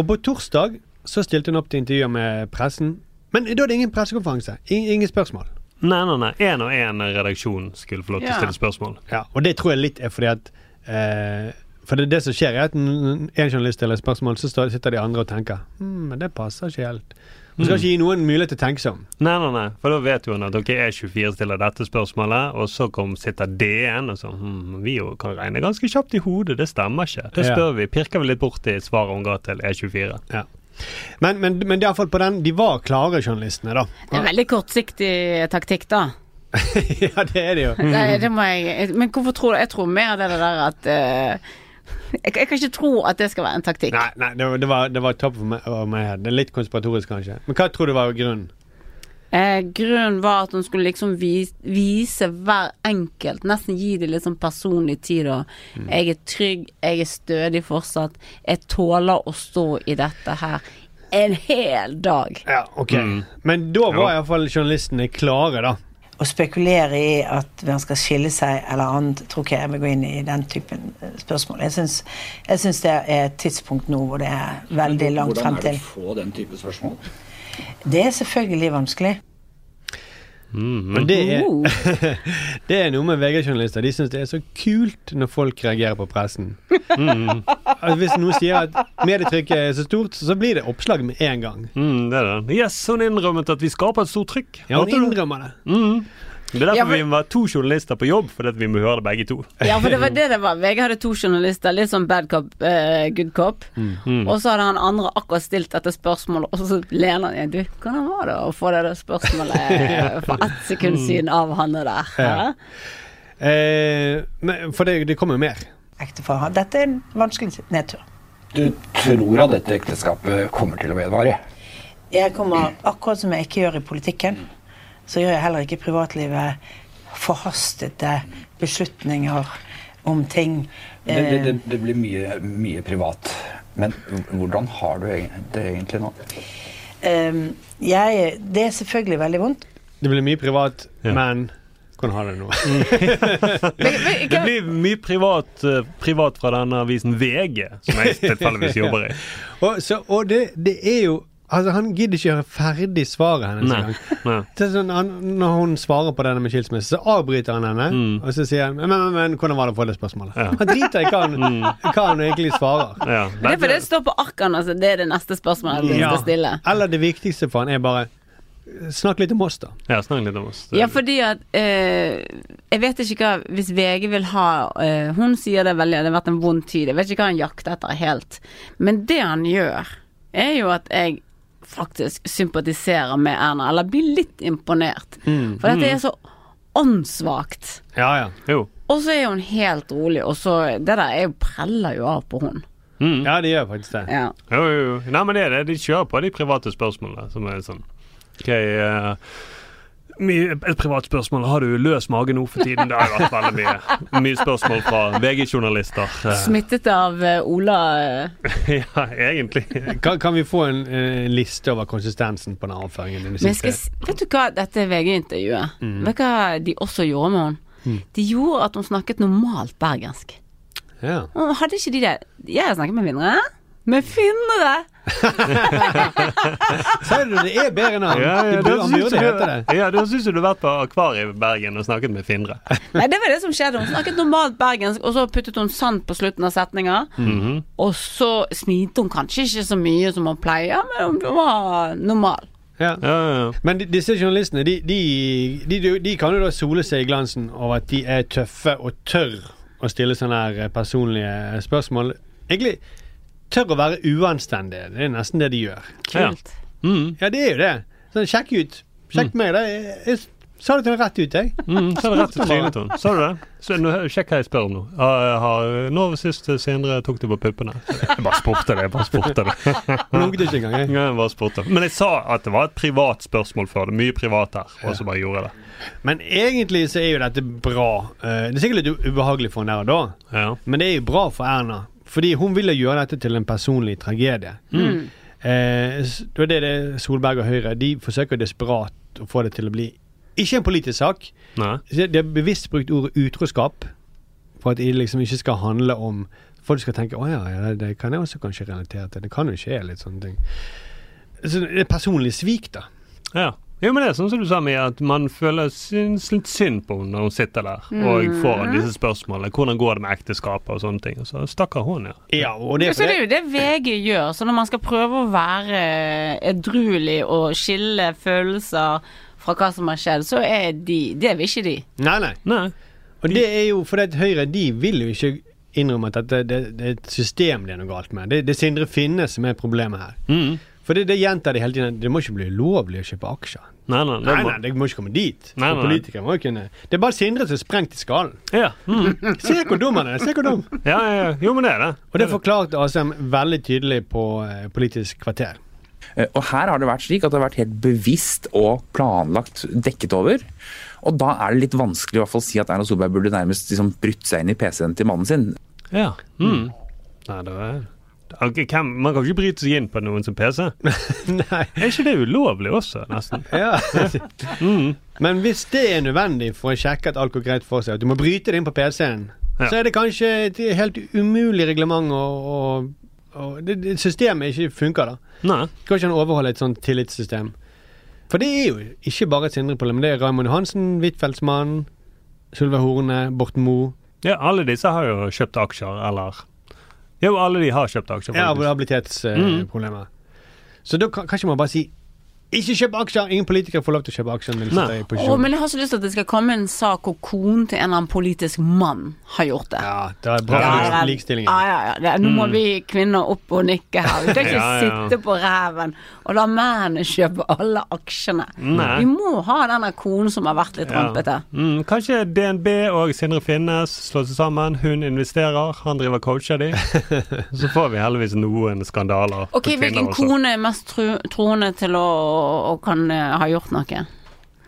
[SPEAKER 1] Og på torsdag så stilte hun opp til intervjuer med pressen. Men da er det ingen pressekonferanse. Ingen, ingen spørsmål.
[SPEAKER 3] Nei, nei, nei. Én og én redaksjon skulle få lov til å
[SPEAKER 2] Ja.
[SPEAKER 3] stille spørsmål.
[SPEAKER 1] Ja, og det tror jeg litt er fordi at eh, For det, er det som skjer, er at n- en journalist stiller et spørsmål, så står, sitter de andre og tenker «Hm, men det passer ikke helt. Man skal ikke gi noen mulighet til å tenke seg om.
[SPEAKER 3] Nei, nei, nei. For da vet jo han at dere er 24 stiller dette spørsmålet, og så kom, sitter DN og sånn hm, Vi jo kan regne ganske kjapt i hodet, det stemmer ikke. Det
[SPEAKER 1] Ja.
[SPEAKER 3] spør vi. Pirker vi litt borti svaret hun ga til E E24.
[SPEAKER 1] Men, men, men det er i hvert fall på den, de var klare, journalistene, da.
[SPEAKER 2] Det er veldig kortsiktig taktikk, da.
[SPEAKER 1] ja, det er det jo.
[SPEAKER 2] Det, det må jeg Men hvorfor tror du Jeg tror mer det der at eh, jeg, jeg kan ikke tro at det skal være en taktikk.
[SPEAKER 1] Nei, nei det, var- det var, det var topp for meg. over meg her. Det er litt konspiratorisk, kanskje. Men hva tror du var grunnen?
[SPEAKER 2] Eh, grunnen var at hun skulle liksom vise, vise hver enkelt, nesten gi det litt sånn personlig tid og
[SPEAKER 1] Mm.
[SPEAKER 2] Jeg er trygg, jeg er stødig fortsatt, jeg tåler å stå i dette her en hel dag.
[SPEAKER 1] Ja, ok. Mm. Men da var iallfall journalistene klare, da.
[SPEAKER 5] Å spekulere i at hvem skal skille seg eller annet, tror ikke jeg vil gå inn i den typen eh, spørsmål. Jeg syns, jeg syns det er et tidspunkt nå hvor det er veldig langt frem til.
[SPEAKER 8] få den type spørsmål?
[SPEAKER 5] Det er selvfølgelig vanskelig.
[SPEAKER 1] Men det er,
[SPEAKER 2] Oh.
[SPEAKER 1] det er noe med VG-journalister. De syns det er så kult når folk reagerer på pressen.
[SPEAKER 3] Mm.
[SPEAKER 1] Altså, hvis noen sier at medietrykket er så stort, så blir det oppslag med en gang.
[SPEAKER 3] Mm, det er det. Yes, hun innrømmet at vi skaper et stort trykk.
[SPEAKER 1] Ja, han
[SPEAKER 3] Hørte du det?
[SPEAKER 1] innrømmer det.
[SPEAKER 3] Det er derfor
[SPEAKER 2] Ja, men-
[SPEAKER 3] vi var to journalister på jobb, fordi at vi må høre det begge to.
[SPEAKER 2] Ja, for det var det det var. VG hadde to journalister, litt sånn bad cop, eh, good cop.
[SPEAKER 1] Mm.
[SPEAKER 2] Og så hadde han andre akkurat stilt dette spørsmålet, og så lener han igjen. Du, hvordan var det å få det der spørsmålet eh, for ett sekunds syn av han og der? hæ?
[SPEAKER 1] Eh, men, for det, det kommer jo mer.
[SPEAKER 5] Ektefar har Dette er en vanskelig nedtur.
[SPEAKER 8] Du tror at dette ekteskapet kommer til å vedvare?
[SPEAKER 5] Jeg kommer, akkurat som jeg ikke gjør i politikken, så gjør jeg heller ikke i privatlivet forhastede beslutninger om ting. Eh.
[SPEAKER 8] Det, det, det, det blir mye, mye privat. Men hvordan har du egen- det egentlig nå?
[SPEAKER 5] Eh, jeg, det er selvfølgelig veldig vondt.
[SPEAKER 1] Det blir mye privat,
[SPEAKER 3] Ja. Mm.
[SPEAKER 1] men hvordan har det nå?
[SPEAKER 3] Det blir mye privat, eh, privat fra denne avisen VG, som jeg tilfeldigvis jobber i.
[SPEAKER 1] Og, så, og det, det er jo altså, han gidder ikke gjøre ferdig svaret hennes
[SPEAKER 3] Nei,
[SPEAKER 1] engang.
[SPEAKER 3] nei.
[SPEAKER 1] Det er Sånn, han, når hun svarer på denne med skilsmisse, så avbryter han henne.
[SPEAKER 3] Mm.
[SPEAKER 1] Og så sier han men, men, men, 'Hvordan var det å få det spørsmålet?'
[SPEAKER 3] Ja. Mm.
[SPEAKER 1] Han driter i hva han, hva han egentlig svarer.
[SPEAKER 3] Ja.
[SPEAKER 2] Det er fordi det står på arkene, altså. Det er det neste spørsmålet jeg
[SPEAKER 1] Mm. Ja.
[SPEAKER 2] skal stille.
[SPEAKER 1] Eller det viktigste for han er bare Snakk litt om oss, da.
[SPEAKER 3] Ja, snakk litt om oss.
[SPEAKER 2] Ja, fordi at eh, Jeg vet ikke hva Hvis VG vil ha eh, Hun sier det veldig, det har vært en vond tid. Jeg vet ikke hva han jakter etter helt. Men det han gjør, er jo at jeg faktisk sympatiserer med Erna, eller blir litt imponert.
[SPEAKER 1] Mm.
[SPEAKER 2] For dette er så åndssvakt.
[SPEAKER 1] Ja, ja.
[SPEAKER 3] Jo.
[SPEAKER 2] Og så er hun helt rolig, og så Det der er jo preller jo av på hun.
[SPEAKER 3] Mm.
[SPEAKER 1] Ja, det gjør faktisk det.
[SPEAKER 2] Ja.
[SPEAKER 3] Jo, jo, jo. Nei, men det er det. De kjører på de private spørsmålene, som er sånn OK eh, mye, Et privat spørsmål. Har du løs mage nå for tiden? Det har jo vært veldig mye. Mye spørsmål fra VG-journalister. eh.
[SPEAKER 2] Smittet av eh, Ola eh,
[SPEAKER 3] Ja, egentlig.
[SPEAKER 1] Kan, kan vi få en eh, liste over konsistensen på den avføringen? din i
[SPEAKER 2] Men jeg Mm. skal,
[SPEAKER 1] siste?
[SPEAKER 2] s- vet du hva, dette VG-intervjuet Vet du hva de også gjorde med henne? De gjorde at hun snakket normalt bergensk.
[SPEAKER 1] Ja.
[SPEAKER 2] Hun hadde ikke de der Jeg har snakket med vinnere. Med finnere!
[SPEAKER 1] Sa du det er bedre navn? det burde,
[SPEAKER 3] da
[SPEAKER 1] han
[SPEAKER 3] syns
[SPEAKER 1] burde hete det.
[SPEAKER 3] du, ja, da syns du du har vært på Akvariet i Bergen og snakket med Findre.
[SPEAKER 2] Nei, det var det som skjedde. Hun snakket normalt bergensk, og så puttet hun sand på slutten av setninger. Og så smilte hun kanskje ikke så mye som hun pleier, men hun var normal.
[SPEAKER 1] Ja.
[SPEAKER 3] Ja, ja, ja.
[SPEAKER 1] Men di- disse journalistene, de, de, de, de kan jo da sole seg i glansen over at de er tøffe og tør å stille sånne her eh, personlige spørsmål. Egentlig tør å være uanstendige. Det er nesten det de gjør.
[SPEAKER 2] Kult.
[SPEAKER 3] Mm,
[SPEAKER 1] Ja, det er jo det. Sånn, sjekk ut. Sjekk meg, da. Jeg, jeg sa det til deg rett ut, jeg.
[SPEAKER 3] mm, så er det rett i trynet til henne. Sa du det? Så, nå, sjekk hva jeg spør om nå. Har- har- Når sist Sindre tok det på puppene? Jeg bare spurte det. Jeg bare spurte det.
[SPEAKER 1] Blunket ikke engang, jeg.
[SPEAKER 3] Ja, jeg bare spurte. Men jeg sa at det var et privat spørsmål før det. Mye privat her. Og så bare gjorde jeg det.
[SPEAKER 1] Men egentlig så er jo dette bra. Eh, Det er sikkert litt u- ubehagelig for henne der og da.
[SPEAKER 3] Ja.
[SPEAKER 1] Men det er jo bra for Erna, fordi hun ville gjøre dette til en personlig tragedie.
[SPEAKER 3] Mm.
[SPEAKER 1] Eh, s- det er det det Solberg og Høyre de forsøker desperat å få det til å bli ikke en politisk sak.
[SPEAKER 3] Nei.
[SPEAKER 1] De de har bevisst brukt ordet utroskap for at det liksom ikke skal handle om Folk skal tenke 'Å ja, ja, det kan jeg også kanskje relatere til'. Det kan jo skje litt sånne ting. Så det er personlig svik, da.
[SPEAKER 3] Ja. Jo, men det er sånn som du sa, Mia, at man føler syns litt synd på henne når hun sitter der og
[SPEAKER 1] Mm.
[SPEAKER 3] får disse spørsmålene. Hvordan går det med ekteskapet og sånne ting. Og så stakkar hun, ja.
[SPEAKER 1] Ja, og det er
[SPEAKER 2] Så det
[SPEAKER 1] fordi-
[SPEAKER 2] er jo det VG gjør. Så når man skal prøve å være edruelig og skille følelser fra hva som har skjedd, så er de Det vil ikke de.
[SPEAKER 1] Nei, nei.
[SPEAKER 3] Nei.
[SPEAKER 1] Og det er jo fordi at Høyre de vil jo ikke innrømme at det, det, det er et system det er noe galt med. Det, det er Sindre Finne som er problemet her.
[SPEAKER 3] Mm.
[SPEAKER 1] For det, det gjentar de hele tiden. Det må ikke bli ulovlig å kjøpe aksjer.
[SPEAKER 3] Nei, nei,
[SPEAKER 1] Nei,
[SPEAKER 3] må-
[SPEAKER 1] nei, det må ikke komme dit.
[SPEAKER 3] Nei,
[SPEAKER 1] For
[SPEAKER 3] nei, nei.
[SPEAKER 1] politikere må jo kunne Det er bare Sindre som er sprengt i skallen.
[SPEAKER 3] Ja. Mm.
[SPEAKER 1] Se hvor dum han er! Se hvor dum.
[SPEAKER 3] ja, ja, ja. Jo, men det er det.
[SPEAKER 1] Og det forklarte Asheim veldig tydelig på eh, Politisk kvarter.
[SPEAKER 6] Eh, Og her har det vært slik at det har vært helt bevisst og planlagt dekket over. Og da er det litt vanskelig å i hvert fall si at Erna Solberg burde nærmest liksom brutt seg inn i PC-en til mannen sin.
[SPEAKER 3] Ja. Mm. Nei, det er Ok, hvem, Man kan ikke bryte seg inn på noen som PC.
[SPEAKER 1] Nei.
[SPEAKER 3] Er ikke det ulovlig også, nesten?
[SPEAKER 1] Ja. Men hvis det er nødvendig for å sjekke at alt går greit for seg, at du må bryte det inn på PC-en,
[SPEAKER 3] Ja.
[SPEAKER 1] så er det kanskje et helt umulig reglement å, å, å det, det Systemet ikke funker, da.
[SPEAKER 3] Nei.
[SPEAKER 1] Skal ikke han overholde et sånt tillitssystem? For det er jo ikke bare et Sindre-problem. Det er Raymond Johansen, Huitfeldtsmannen, Sylve Horne, Borten Moe.
[SPEAKER 3] Ja, alle disse har jo kjøpt aksjer, eller Jo, alle de har kjøpt aksjer.
[SPEAKER 1] Ja,
[SPEAKER 3] faktisk. Mm.
[SPEAKER 1] habilitetsproblemer. Så da kan kanskje man bare si ikke kjøp aksjer! Ingen politikere får lov til å kjøpe aksjer. når de
[SPEAKER 3] Nei.
[SPEAKER 1] sitter i
[SPEAKER 2] Å,
[SPEAKER 1] posisjon.
[SPEAKER 2] men jeg har så lyst til at det skal komme en sak hvor konen til en eller annen politisk mann har gjort det.
[SPEAKER 1] Ja, det er bra
[SPEAKER 2] ja,
[SPEAKER 1] for
[SPEAKER 2] ja.
[SPEAKER 1] likestillingen.
[SPEAKER 2] Ja, ja, ja. Det, nå må vi kvinner opp og nikke her. Vi kan ikke
[SPEAKER 3] Mm. Ja, ja.
[SPEAKER 2] sitte på ræven og la mennene kjøpe alle aksjene.
[SPEAKER 3] Nei.
[SPEAKER 2] Vi må ha den der konen som har vært litt rampete.
[SPEAKER 3] Mm, kanskje DNB og Sindre Finnes slår seg sammen. Hun investerer, han driver coacher de. Så får vi heldigvis noen skandaler. for
[SPEAKER 2] Ok,
[SPEAKER 3] kvinner
[SPEAKER 2] Hvilken
[SPEAKER 3] også.
[SPEAKER 2] kone er mest tru, troende til å og kan eh, ha gjort noe?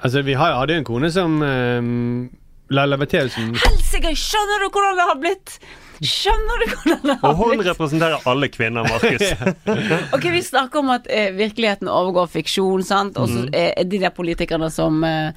[SPEAKER 1] Altså, vi har, hadde jo en kone som um, Laila Bertheussen.
[SPEAKER 2] Helsike, skjønner du hvordan det har blitt? Skjønner du hvordan det
[SPEAKER 3] Og
[SPEAKER 2] har
[SPEAKER 3] hun
[SPEAKER 2] blitt?
[SPEAKER 3] representerer alle kvinner, Markus.
[SPEAKER 2] Ok, Vi snakker om at eh, virkeligheten overgår fiksjon, sant. Og
[SPEAKER 1] Mhm.
[SPEAKER 2] så eh, de der politikerne som eh,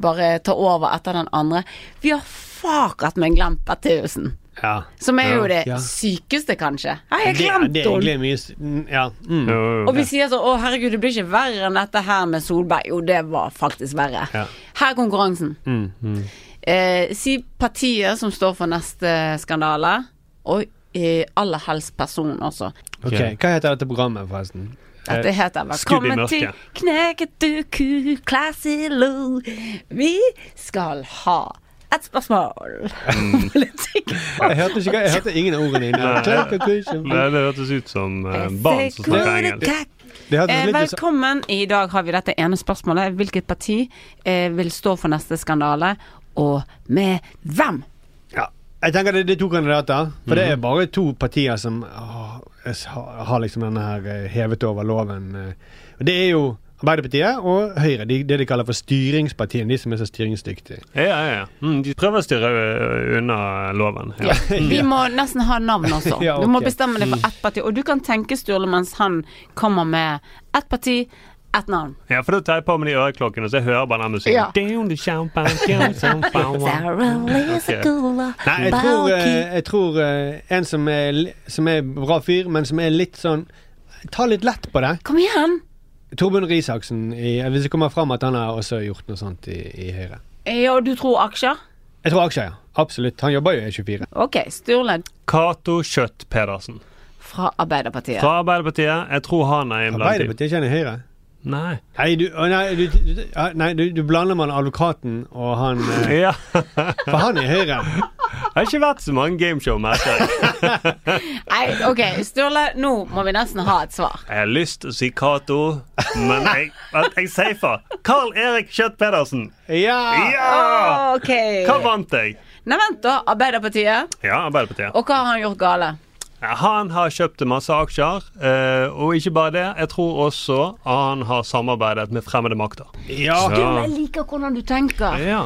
[SPEAKER 2] bare tar over etter den andre. Vi har fakat meg glemt Bertheussen.
[SPEAKER 1] Ja.
[SPEAKER 2] Som er jo det
[SPEAKER 1] Ja.
[SPEAKER 2] sykeste, kanskje. Nei, jeg
[SPEAKER 1] Det-
[SPEAKER 2] glemte
[SPEAKER 1] Det er
[SPEAKER 2] å
[SPEAKER 1] egentlig mye s- mm, Ja. Mm.
[SPEAKER 2] Og vi sier sånn Å, herregud, det blir ikke verre enn dette her med Solberg. Jo, det var faktisk verre.
[SPEAKER 1] Ja.
[SPEAKER 2] Her er konkurransen.
[SPEAKER 1] Mm, mm.
[SPEAKER 2] Eh, si partiet som står for neste skandale, og eh, aller helst person også.
[SPEAKER 1] Ok, Hva heter dette programmet, forresten?
[SPEAKER 2] Dette heter
[SPEAKER 1] Skudd i
[SPEAKER 2] Velkommen til
[SPEAKER 1] mørket.
[SPEAKER 2] Kneket du ku, classy lo. Vi skal ha et spørsmål.
[SPEAKER 3] Mm.
[SPEAKER 1] Jeg hørte, ikke, jeg hørte ingen av ordene inne.
[SPEAKER 3] Nei.
[SPEAKER 1] Kløk og kusj og-
[SPEAKER 3] Nei, det hørtes ut som eh, barn som snakker engelsk.
[SPEAKER 1] Det hørtes
[SPEAKER 2] Eh,
[SPEAKER 1] litt
[SPEAKER 3] sånn-
[SPEAKER 1] ut som-
[SPEAKER 2] velkommen. I dag har vi dette ene spørsmålet. Hvilket parti eh, vil stå for neste skandale, og med hvem?
[SPEAKER 1] Ja. Jeg tenker det, det er to kandidater, for det er bare to partier som åh, s- har har liksom denne her eh, hevet over loven. eh. Og det er jo Arbeiderpartiet og Høyre, de, det de kaller for styringspartiene, de som er så styringsdyktige.
[SPEAKER 3] Ja, ja, ja. Mm, de prøver å styre ø, unna loven. Ja.
[SPEAKER 2] Vi må nesten ha navn også.
[SPEAKER 3] Ja,
[SPEAKER 2] Du må
[SPEAKER 3] ok.
[SPEAKER 2] bestemme deg for ett parti. Og du kan tenke Sturle mens han kommer med ett parti, ett navn.
[SPEAKER 3] Ja, for da tar jeg på meg de øreklokkene, så jeg hører bare den musikken.
[SPEAKER 2] Ja.
[SPEAKER 3] Down the champagne, down
[SPEAKER 2] the champagne.
[SPEAKER 1] Nei, jeg tror, eh, jeg tror eh, en som er, li- som er bra fyr, men som er litt sånn Ta litt lett på det.
[SPEAKER 2] Kom igjen!
[SPEAKER 1] Torbjørn Risaksen, i, eh, hvis det kommer fram at han har også gjort noe sånt i, i Høyre.
[SPEAKER 2] Ja, og du tror aksjer?
[SPEAKER 1] Jeg tror aksjer, ja. Absolutt. Han jobber jo i E 24.
[SPEAKER 2] Ok, Sturle
[SPEAKER 3] Cato Kjøtt Pedersen.
[SPEAKER 2] fra Arbeiderpartiet.
[SPEAKER 3] Fra Arbeiderpartiet. Jeg tror han er innblandet.
[SPEAKER 1] Arbeiderpartiet kjenner Høyre.
[SPEAKER 3] Nei.
[SPEAKER 1] Nei, du, å, nei, du, du, ja, nei du, du blander man advokaten og han eh,
[SPEAKER 3] Ja.
[SPEAKER 1] For han er Høyre.
[SPEAKER 3] Det har ikke vært så mange gameshow-matcher.
[SPEAKER 2] Nei, ok, Sturle, nå må vi nesten ha et svar.
[SPEAKER 3] Jeg har lyst til å si Cato, men jeg, at jeg safer. Carl Erik Kjøtt Pedersen.
[SPEAKER 1] Ja!
[SPEAKER 3] Ja!
[SPEAKER 2] Ah, Ok.
[SPEAKER 3] Ah, Hva vant jeg?
[SPEAKER 2] Nei, vent da. Arbeiderpartiet.
[SPEAKER 3] Ja, Arbeiderpartiet.
[SPEAKER 2] Og hva har han gjort gale?
[SPEAKER 3] Han har kjøpt masse aksjer, eh, og ikke bare det. Jeg tror også han har samarbeidet med fremmede makter.
[SPEAKER 1] Ja.
[SPEAKER 2] Sturle, jeg liker hvordan du tenker.
[SPEAKER 3] Ja.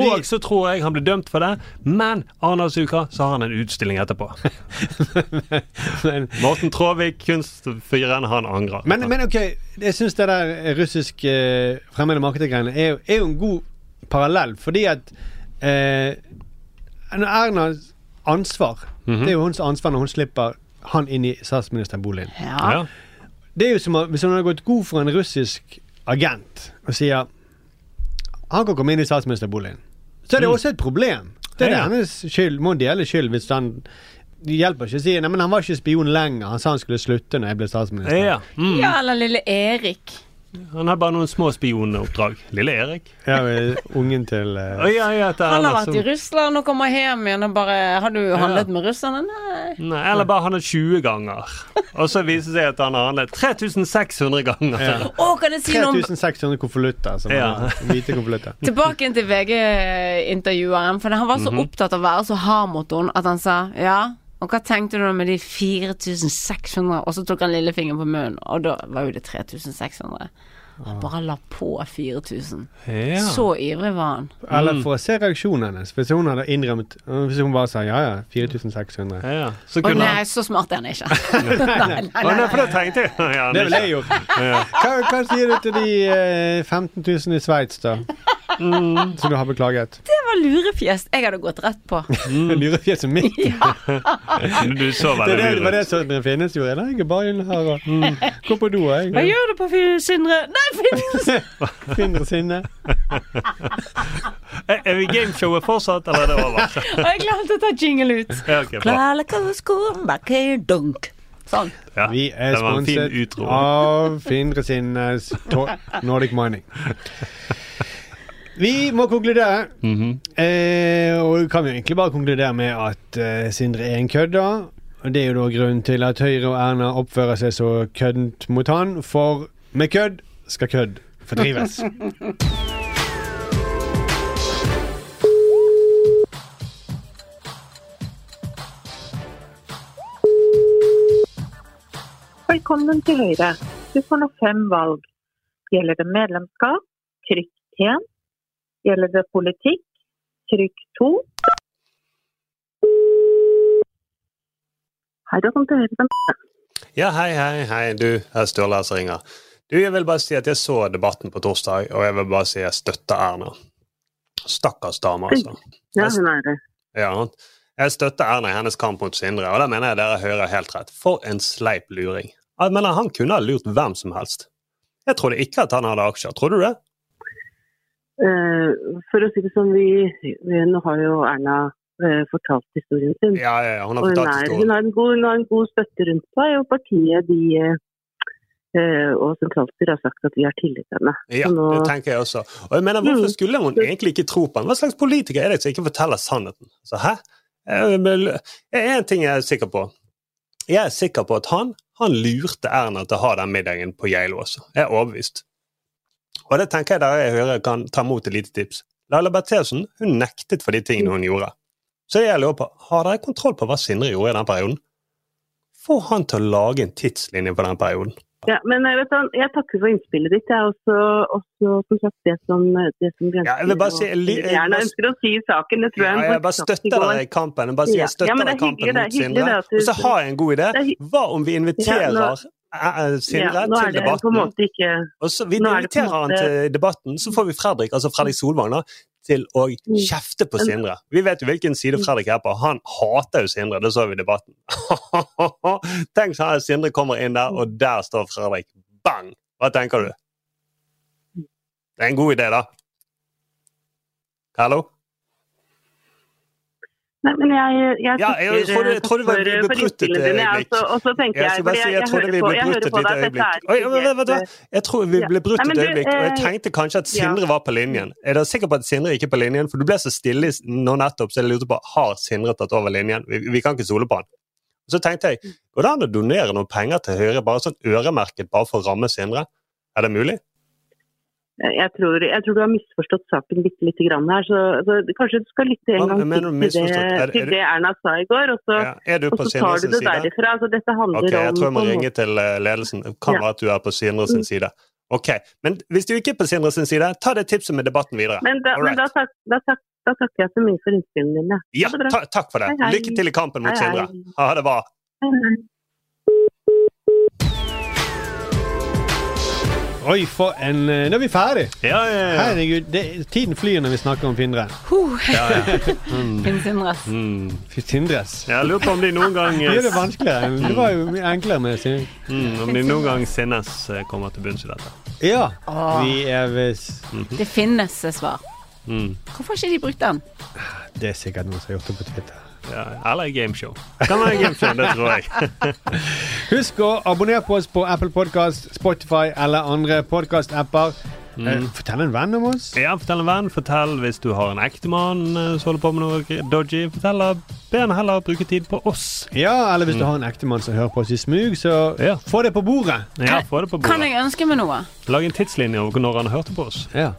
[SPEAKER 3] Og så tror jeg han ble dømt for det, men Arendalsuka så har han en utstilling etterpå.
[SPEAKER 1] Men,
[SPEAKER 3] Morten Traavik, kunstfyren, han angrer.
[SPEAKER 1] men, men ok, jeg syns det der russisk eh, fremmede markedsgreiene er, jo- er jo en god parallell, fordi at eh, Ernas ansvar Det er jo hennes ansvar når hun slipper han inn i statsministerboligen.
[SPEAKER 2] Ja.
[SPEAKER 1] Det er jo som om- hvis hun hadde gått god for en russisk agent og sier han kan komme inn i statsministerboligen. Så er det også et problem. Det er det
[SPEAKER 3] Mm. Ja, ja.
[SPEAKER 1] hennes skyld. Må dele skyld hvis han Det hjelper ikke å si Nei, men han var ikke spion lenger. Han sa han skulle slutte når jeg ble statsminister.
[SPEAKER 3] Ja. Mm.
[SPEAKER 2] Ja, eller lille Erik.
[SPEAKER 3] Han har bare noen små spionoppdrag. Lille Erik.
[SPEAKER 1] Ja, men ungen til eh,
[SPEAKER 3] Oi, oi, oi, det er
[SPEAKER 2] Han har
[SPEAKER 3] altså-
[SPEAKER 2] vært i Russland og kommer hjem igjen og bare Har du handlet med russerne? Nei.
[SPEAKER 3] Nei, eller bare han er 20 ganger. Og så viser det seg at han har handlet 3600 ganger.
[SPEAKER 1] Ja.
[SPEAKER 2] Å, kan jeg si noe om
[SPEAKER 1] 3600 konvolutter. som
[SPEAKER 3] Ja.
[SPEAKER 1] han har. Hvite konvolutter.
[SPEAKER 2] Tilbake inn til VG-intervjueren, for han var
[SPEAKER 3] Mhm.
[SPEAKER 2] så opptatt av å være så hard mot henne at han sa ja. Og hva tenkte du med de 4600? Og så tok han lillefingeren på munnen, og da var jo det 3600. Han bare la på 4000.
[SPEAKER 3] Ah. Ja.
[SPEAKER 2] Så ivrig var han.
[SPEAKER 1] Eller
[SPEAKER 3] Mm.
[SPEAKER 1] for å se reaksjonen hennes. Hvis hun hadde innrømt Hvis hun bare sa ja, ja, 4600.
[SPEAKER 3] Ja, ja. Så
[SPEAKER 2] Å
[SPEAKER 3] kunne
[SPEAKER 2] nei,
[SPEAKER 3] han
[SPEAKER 2] så smart er han ikke. nei, nei,
[SPEAKER 3] Å nei, for det tenkte jeg. Ja, han
[SPEAKER 1] Det ville
[SPEAKER 3] ikke.
[SPEAKER 1] jeg gjort. Hva, hva sier du til de eh, 15 000 i Sveits, da? Som du har beklaget?
[SPEAKER 2] Det var lurefjes jeg hadde gått rett på.
[SPEAKER 1] Lurefjeset mitt.
[SPEAKER 3] Du så
[SPEAKER 1] Det, er det, det
[SPEAKER 3] veldig
[SPEAKER 1] var
[SPEAKER 3] lur
[SPEAKER 1] det
[SPEAKER 3] ut.
[SPEAKER 1] som det finnes, gjorde jeg. Nei, jeg er bare inne her og går på do, jeg.
[SPEAKER 2] Hva gjør du på Fy- Sindre? Nei, Finn!
[SPEAKER 1] Finner sinne.
[SPEAKER 3] Er er vi gameshowet fortsatt, eller er det over?
[SPEAKER 2] Jeg glemte å ta jingle ut.
[SPEAKER 3] Ja, ok, bra.
[SPEAKER 2] Klalakaskum, bakkedunk. Sånn.
[SPEAKER 3] Ja.
[SPEAKER 1] Vi er
[SPEAKER 3] det var en fin
[SPEAKER 1] sponset
[SPEAKER 3] utro.
[SPEAKER 1] av Findre Sinnes to- Nordic Mining. Vi må konkludere, eh, og kan jo egentlig bare konkludere med at eh, Sindre er en kødda. Og det er jo da grunnen til at Høyre og Erna oppfører seg så køddent mot han, for med kødd skal kødd fordrives.
[SPEAKER 9] Velkommen til Høyre. Du får nå fem valg. Gjelder det medlemskap? Trykk 1. Gjelder det politikk? Trykk 2. Hei, da kom til Høyre. den-
[SPEAKER 3] Ja, hei, hei, hei, du. Det er Sturle her som ringer. Du, jeg vil bare si at jeg så debatten på torsdag, og jeg vil bare si at jeg støtter Erna. Stakkars dame, altså.
[SPEAKER 9] Ja, hun er det.
[SPEAKER 3] Ja, Jeg støtter Erna i hennes kamp mot Sindre, og der mener jeg dere hører helt rett. For en sleip luring. Jeg mener han kunne ha lurt hvem som helst. Jeg trodde ikke at han hadde aksjer. Tror du det?
[SPEAKER 10] Eh, For å si det sånn, vi, vi, nå har jo Erna eh, fortalt historien sin.
[SPEAKER 3] Ja, ja, ja, hun har
[SPEAKER 10] Og hun,
[SPEAKER 3] fortalt
[SPEAKER 10] er,
[SPEAKER 3] historien.
[SPEAKER 10] hun, har en god, hun har en god støtte rundt seg, og partiet de, eh, eh, og sentralstyret har sagt at vi har tillit til henne.
[SPEAKER 3] Ja,
[SPEAKER 10] Så nå, Mm.
[SPEAKER 3] det tenker jeg også. Og jeg mener, Hvorfor skulle hun egentlig ikke tro på ham? Hva slags politiker er det som ikke forteller sannheten? Så hæ? Eh, Én ting jeg er sikker på. Jeg er sikker på at han, han lurte Erna til å ha den middagen på Geilo også. Jeg er overbevist. Og det tenker jeg dere jeg hører kan ta imot et lite tips. Laila Bertheussen hun nektet for de tingene hun gjorde. Så jeg lurer på, har dere kontroll på hva Sindre gjorde i den perioden? Få han til å lage en tidslinje for den perioden.
[SPEAKER 10] ja, men jeg, vet, du, jeg takker for innspillet ditt. Det er også, også som sagt, det som, det som
[SPEAKER 3] Ja, jeg vil bare si- jeg li- jeg
[SPEAKER 10] Erna
[SPEAKER 3] bare-
[SPEAKER 10] ønsker å si i saken. Det tror jeg
[SPEAKER 3] Ja,
[SPEAKER 10] hun
[SPEAKER 3] jeg bare
[SPEAKER 10] faktisk sagt i
[SPEAKER 3] støtter
[SPEAKER 10] går.
[SPEAKER 3] deg i kampen. Jeg bare sier
[SPEAKER 10] Ja.
[SPEAKER 3] jeg støtter
[SPEAKER 10] Ja, men det
[SPEAKER 3] deg
[SPEAKER 10] er
[SPEAKER 3] i kampen
[SPEAKER 10] hyggelig, det er
[SPEAKER 3] mot
[SPEAKER 10] hyggelig
[SPEAKER 3] Sindre.
[SPEAKER 10] det at du-
[SPEAKER 3] Og så har jeg en god idé.
[SPEAKER 10] Det er hy-
[SPEAKER 3] Hva om vi
[SPEAKER 10] Ja,
[SPEAKER 3] inviterer
[SPEAKER 10] nå-
[SPEAKER 3] eh, eh, Sindre
[SPEAKER 10] Ja, nå er
[SPEAKER 3] til
[SPEAKER 10] det på en
[SPEAKER 3] debatten?
[SPEAKER 10] måte ikke-
[SPEAKER 3] Og så vi
[SPEAKER 10] nå er det på en
[SPEAKER 3] inviterer han
[SPEAKER 10] måte-
[SPEAKER 3] til debatten, så får vi Fredrik, altså Fredrik Solvang, da, til å kjefte på
[SPEAKER 10] Mm. Men- Mm.
[SPEAKER 3] Sindre. Vi vet jo hvilken side Fredrik er på. Han hater jo Sindre, det så vi i debatten. Tenk sånn at Sindre kommer inn der, og der står Fredrik. Bang! Hva tenker du? Det er en god idé, da. Hallo?
[SPEAKER 10] Nei, men jeg, jeg,
[SPEAKER 3] Ja, jeg
[SPEAKER 10] takker,
[SPEAKER 3] trodde- jeg
[SPEAKER 10] takk
[SPEAKER 3] trodde vi
[SPEAKER 10] for-
[SPEAKER 3] ble
[SPEAKER 10] for
[SPEAKER 3] beprutet et
[SPEAKER 10] innspillene dine,
[SPEAKER 3] øyeblikk.
[SPEAKER 10] altså, og så tenker jeg,
[SPEAKER 3] Jeg skal bare
[SPEAKER 10] fordi
[SPEAKER 3] si, jeg trodde
[SPEAKER 10] hører
[SPEAKER 3] vi
[SPEAKER 10] på-
[SPEAKER 3] ble
[SPEAKER 10] jeg hører
[SPEAKER 3] brutt et
[SPEAKER 10] på deg
[SPEAKER 3] lite
[SPEAKER 10] at dette
[SPEAKER 3] øyeblikk.
[SPEAKER 10] er ikke
[SPEAKER 3] Oi, vet du hva?
[SPEAKER 10] helt,
[SPEAKER 3] Jeg tror vi
[SPEAKER 10] Ja.
[SPEAKER 3] ble brutt
[SPEAKER 10] Nei, men
[SPEAKER 3] et
[SPEAKER 10] du,
[SPEAKER 3] øyeblikk, og jeg
[SPEAKER 10] eh,
[SPEAKER 3] tenkte kanskje at
[SPEAKER 10] ja.
[SPEAKER 3] Sindre var på linjen. Er dere sikre på at Sindre ikke er på linjen? For du ble så stille i s- nå nettopp, så jeg lurte på har Sindre tatt over linjen. Vi, vi kan ikke stole på han. Så tenkte jeg, går det an å donere noen penger til Høyre, bare sånn øremerket, bare for å ramme Sindre? Er det mulig?
[SPEAKER 10] eh, jeg, tror, jeg tror du har misforstått saken bitte lite grann her, så, så kanskje du skal lytte
[SPEAKER 3] Hva
[SPEAKER 10] en gang
[SPEAKER 3] mener du
[SPEAKER 10] til til det,
[SPEAKER 3] misforstått? Er- er
[SPEAKER 10] til
[SPEAKER 3] du-
[SPEAKER 10] det Erna sa i går, og så,
[SPEAKER 3] er du
[SPEAKER 10] og
[SPEAKER 3] på
[SPEAKER 10] så
[SPEAKER 3] Sindre
[SPEAKER 10] tar du
[SPEAKER 3] sin
[SPEAKER 10] det
[SPEAKER 3] side?
[SPEAKER 10] derifra. Altså, dette handler
[SPEAKER 3] Ok, jeg
[SPEAKER 10] om
[SPEAKER 3] tror jeg må
[SPEAKER 10] på en
[SPEAKER 3] ringe
[SPEAKER 10] måte-
[SPEAKER 3] til eh, ledelsen. Det kan
[SPEAKER 10] Ja.
[SPEAKER 3] være at du er på Sindre sin
[SPEAKER 10] Mm.
[SPEAKER 3] side. Ok, Men hvis du ikke er på Sindre sin side, ta det tipset med debatten videre.
[SPEAKER 10] Men, da,
[SPEAKER 3] All
[SPEAKER 10] men
[SPEAKER 3] right.
[SPEAKER 10] da, tak, da, tak, da takker jeg så mye for innspillene dine.
[SPEAKER 3] Ja,
[SPEAKER 10] Ha det bra.
[SPEAKER 3] ta, takk for det.
[SPEAKER 10] Hei, hei.
[SPEAKER 3] Lykke til i kampen mot
[SPEAKER 10] Hei, hei.
[SPEAKER 3] Sindre. Ha det bra.
[SPEAKER 10] Hei, hei.
[SPEAKER 1] Oi, for en eh, Nå er vi ferdig.
[SPEAKER 3] Ja, ja, ja.
[SPEAKER 1] Herregud, det, tiden flyr når vi snakker om Findre.
[SPEAKER 2] Huh.
[SPEAKER 1] Mm.
[SPEAKER 2] Finn Sindres.
[SPEAKER 1] Fy, Sindres.
[SPEAKER 3] Jeg lurer på om de noen gang
[SPEAKER 1] Det gjør det vanskeligere. Det var jo mye enklere med sin.
[SPEAKER 3] Mm, om de noen gang Sinnes eh, kommer til bunns i dette.
[SPEAKER 1] Ja.
[SPEAKER 3] Ah.
[SPEAKER 2] Åh.
[SPEAKER 1] Vi er visst
[SPEAKER 2] Det finnes et svar.
[SPEAKER 3] Mm.
[SPEAKER 2] Hvorfor har ikke de brukt den?
[SPEAKER 1] Det er sikkert noen som har gjort det på Twitter.
[SPEAKER 3] Ja, eller gameshow. Kan være gameshow, det tror jeg.
[SPEAKER 1] Husk å abonnere på oss på Apple Podcast, Spotify eller andre podcast-apper.
[SPEAKER 3] Mm.
[SPEAKER 1] Eh, Fortell en venn om oss.
[SPEAKER 3] Ja, fortell en venn. Fortell hvis du har en ektemann eh, som holder på med noe gr- dodgy. Fortell han, Be han heller bruke tid på oss.
[SPEAKER 1] Ja, eller hvis du
[SPEAKER 3] Mm.
[SPEAKER 1] har en ektemann som hører på oss i smug, så få det på bordet.
[SPEAKER 3] Ja, få det på
[SPEAKER 2] Kan
[SPEAKER 3] bordet.
[SPEAKER 2] jeg ønske meg noe?
[SPEAKER 3] Lag en tidslinje over når han hørte på oss.
[SPEAKER 1] Ja.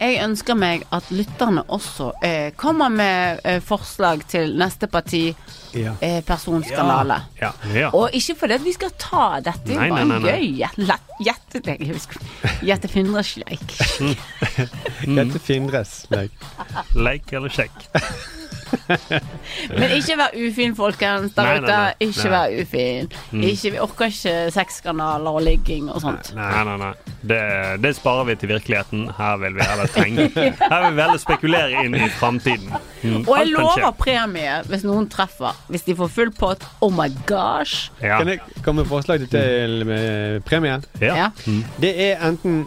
[SPEAKER 2] Jeg ønsker meg at lytterne også eh, kommer med eh, forslag til neste parti
[SPEAKER 1] Ja.
[SPEAKER 2] eh, personskandale.
[SPEAKER 3] Ja. Ja.
[SPEAKER 2] Og ikke fordi at vi skal ta dette, det er
[SPEAKER 3] Nei,
[SPEAKER 2] jo bare
[SPEAKER 3] nei,
[SPEAKER 2] en
[SPEAKER 3] nei,
[SPEAKER 2] gøy gjett- lett- gjettet jeg husker. Gjette finnersleik.
[SPEAKER 3] Mm.
[SPEAKER 1] Dette Findres leik.
[SPEAKER 3] Leik eller sjekk.
[SPEAKER 2] Men ikke vær ufin, folkens der
[SPEAKER 3] Nei, nei,
[SPEAKER 2] ute.
[SPEAKER 3] nei.
[SPEAKER 2] Ikke
[SPEAKER 3] Nei.
[SPEAKER 2] vær ufin.
[SPEAKER 3] Mm.
[SPEAKER 2] Ikke, vi orker ikke sexkanaler og ligging og sånt.
[SPEAKER 3] Nei, nei, nei. Det, det sparer vi til virkeligheten. Her vil vi heller trenge Her vil vi heller spekulere inn i framtiden. Mm,
[SPEAKER 2] Og jeg
[SPEAKER 3] alt kan skje.
[SPEAKER 2] lover premie hvis noen treffer. Hvis de får full pott. Oh my gosh.
[SPEAKER 1] Kan jeg komme med forslag til
[SPEAKER 3] Mm.
[SPEAKER 1] eh, premie?
[SPEAKER 2] Ja.
[SPEAKER 1] Det er enten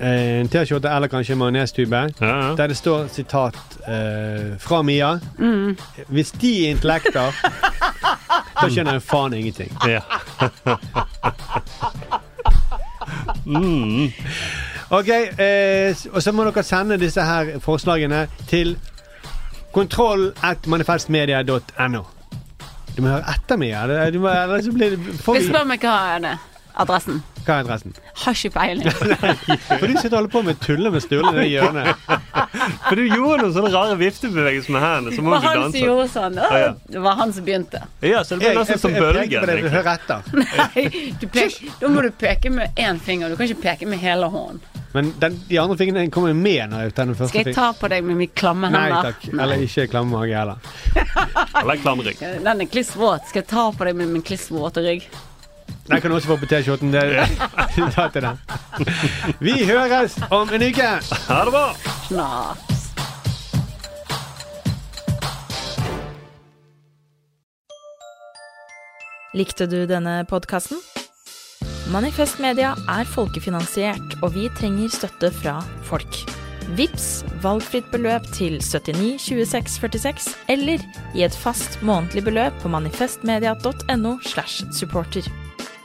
[SPEAKER 1] eh, en T-skjorte eller kanskje en majonestube der det står sitat eh, fra Mia.
[SPEAKER 2] Mm.
[SPEAKER 1] Hvis de er intellekter, da skjønner jeg faen ingenting. Ok, eh, s- og så må dere sende disse her forslagene til kontroll.manifestmedia.no. Du må høre etter meg, ja. Det- du må- ellers så blir det får
[SPEAKER 2] Hvis
[SPEAKER 1] vi-
[SPEAKER 2] du spør meg hva er det adressen.
[SPEAKER 1] Hva er adressen?
[SPEAKER 2] Har ikke peiling.
[SPEAKER 1] For du sitter og holder på med tulle med Sturle i det hjørnet.
[SPEAKER 3] For du gjorde noen sånne rare viftebevegelser med hendene, så
[SPEAKER 2] Det
[SPEAKER 3] må
[SPEAKER 2] var
[SPEAKER 3] du
[SPEAKER 2] han som
[SPEAKER 3] danse.
[SPEAKER 2] gjorde sånn. Å,
[SPEAKER 3] Ah, ja.
[SPEAKER 2] Det var han som begynte.
[SPEAKER 3] Ja, så det ble
[SPEAKER 1] Jeg-
[SPEAKER 3] nesten
[SPEAKER 1] jeg-
[SPEAKER 3] som
[SPEAKER 1] jeg peker
[SPEAKER 3] bølgen.
[SPEAKER 1] på deg, du
[SPEAKER 3] egentlig.
[SPEAKER 1] hører etter.
[SPEAKER 2] Nei, du pek, da må du peke med én finger. Du kan ikke peke med hele hånden.
[SPEAKER 1] Men den, de andre fingrene kommer med når jeg tar den første
[SPEAKER 2] Skal jeg
[SPEAKER 1] fingeren.
[SPEAKER 2] ta på deg med min klamme
[SPEAKER 1] Nei
[SPEAKER 2] hender?
[SPEAKER 1] takk. Eller ikke klam mage heller.
[SPEAKER 3] Eller klam rygg.
[SPEAKER 2] Den er klissvåt. Skal jeg ta på deg med min klissvåte rygg?
[SPEAKER 1] Den kan du også få på T-skjorten. Det- Ta til den. Vi høres om en uke!
[SPEAKER 3] Ha det bra!
[SPEAKER 2] Snaps. Likte du denne podkasten? Manifest Media er folkefinansiert, og vi trenger støtte fra folk. Vips valgfritt beløp til 79 26 46, eller i et fast månedlig beløp på manifestmedia.no. slash supporter.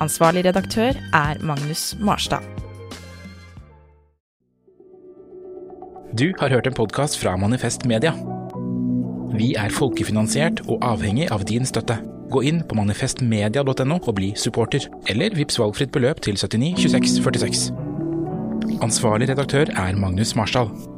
[SPEAKER 2] Ansvarlig redaktør er Magnus Marstad.
[SPEAKER 11] Du har hørt en podkast fra Manifest Media. Vi er folkefinansiert og avhengig av din støtte. Gå inn på manifestmedia.no og bli supporter, eller vips valgfritt beløp til 79 26 46. Ansvarlig redaktør er Magnus Marsdal.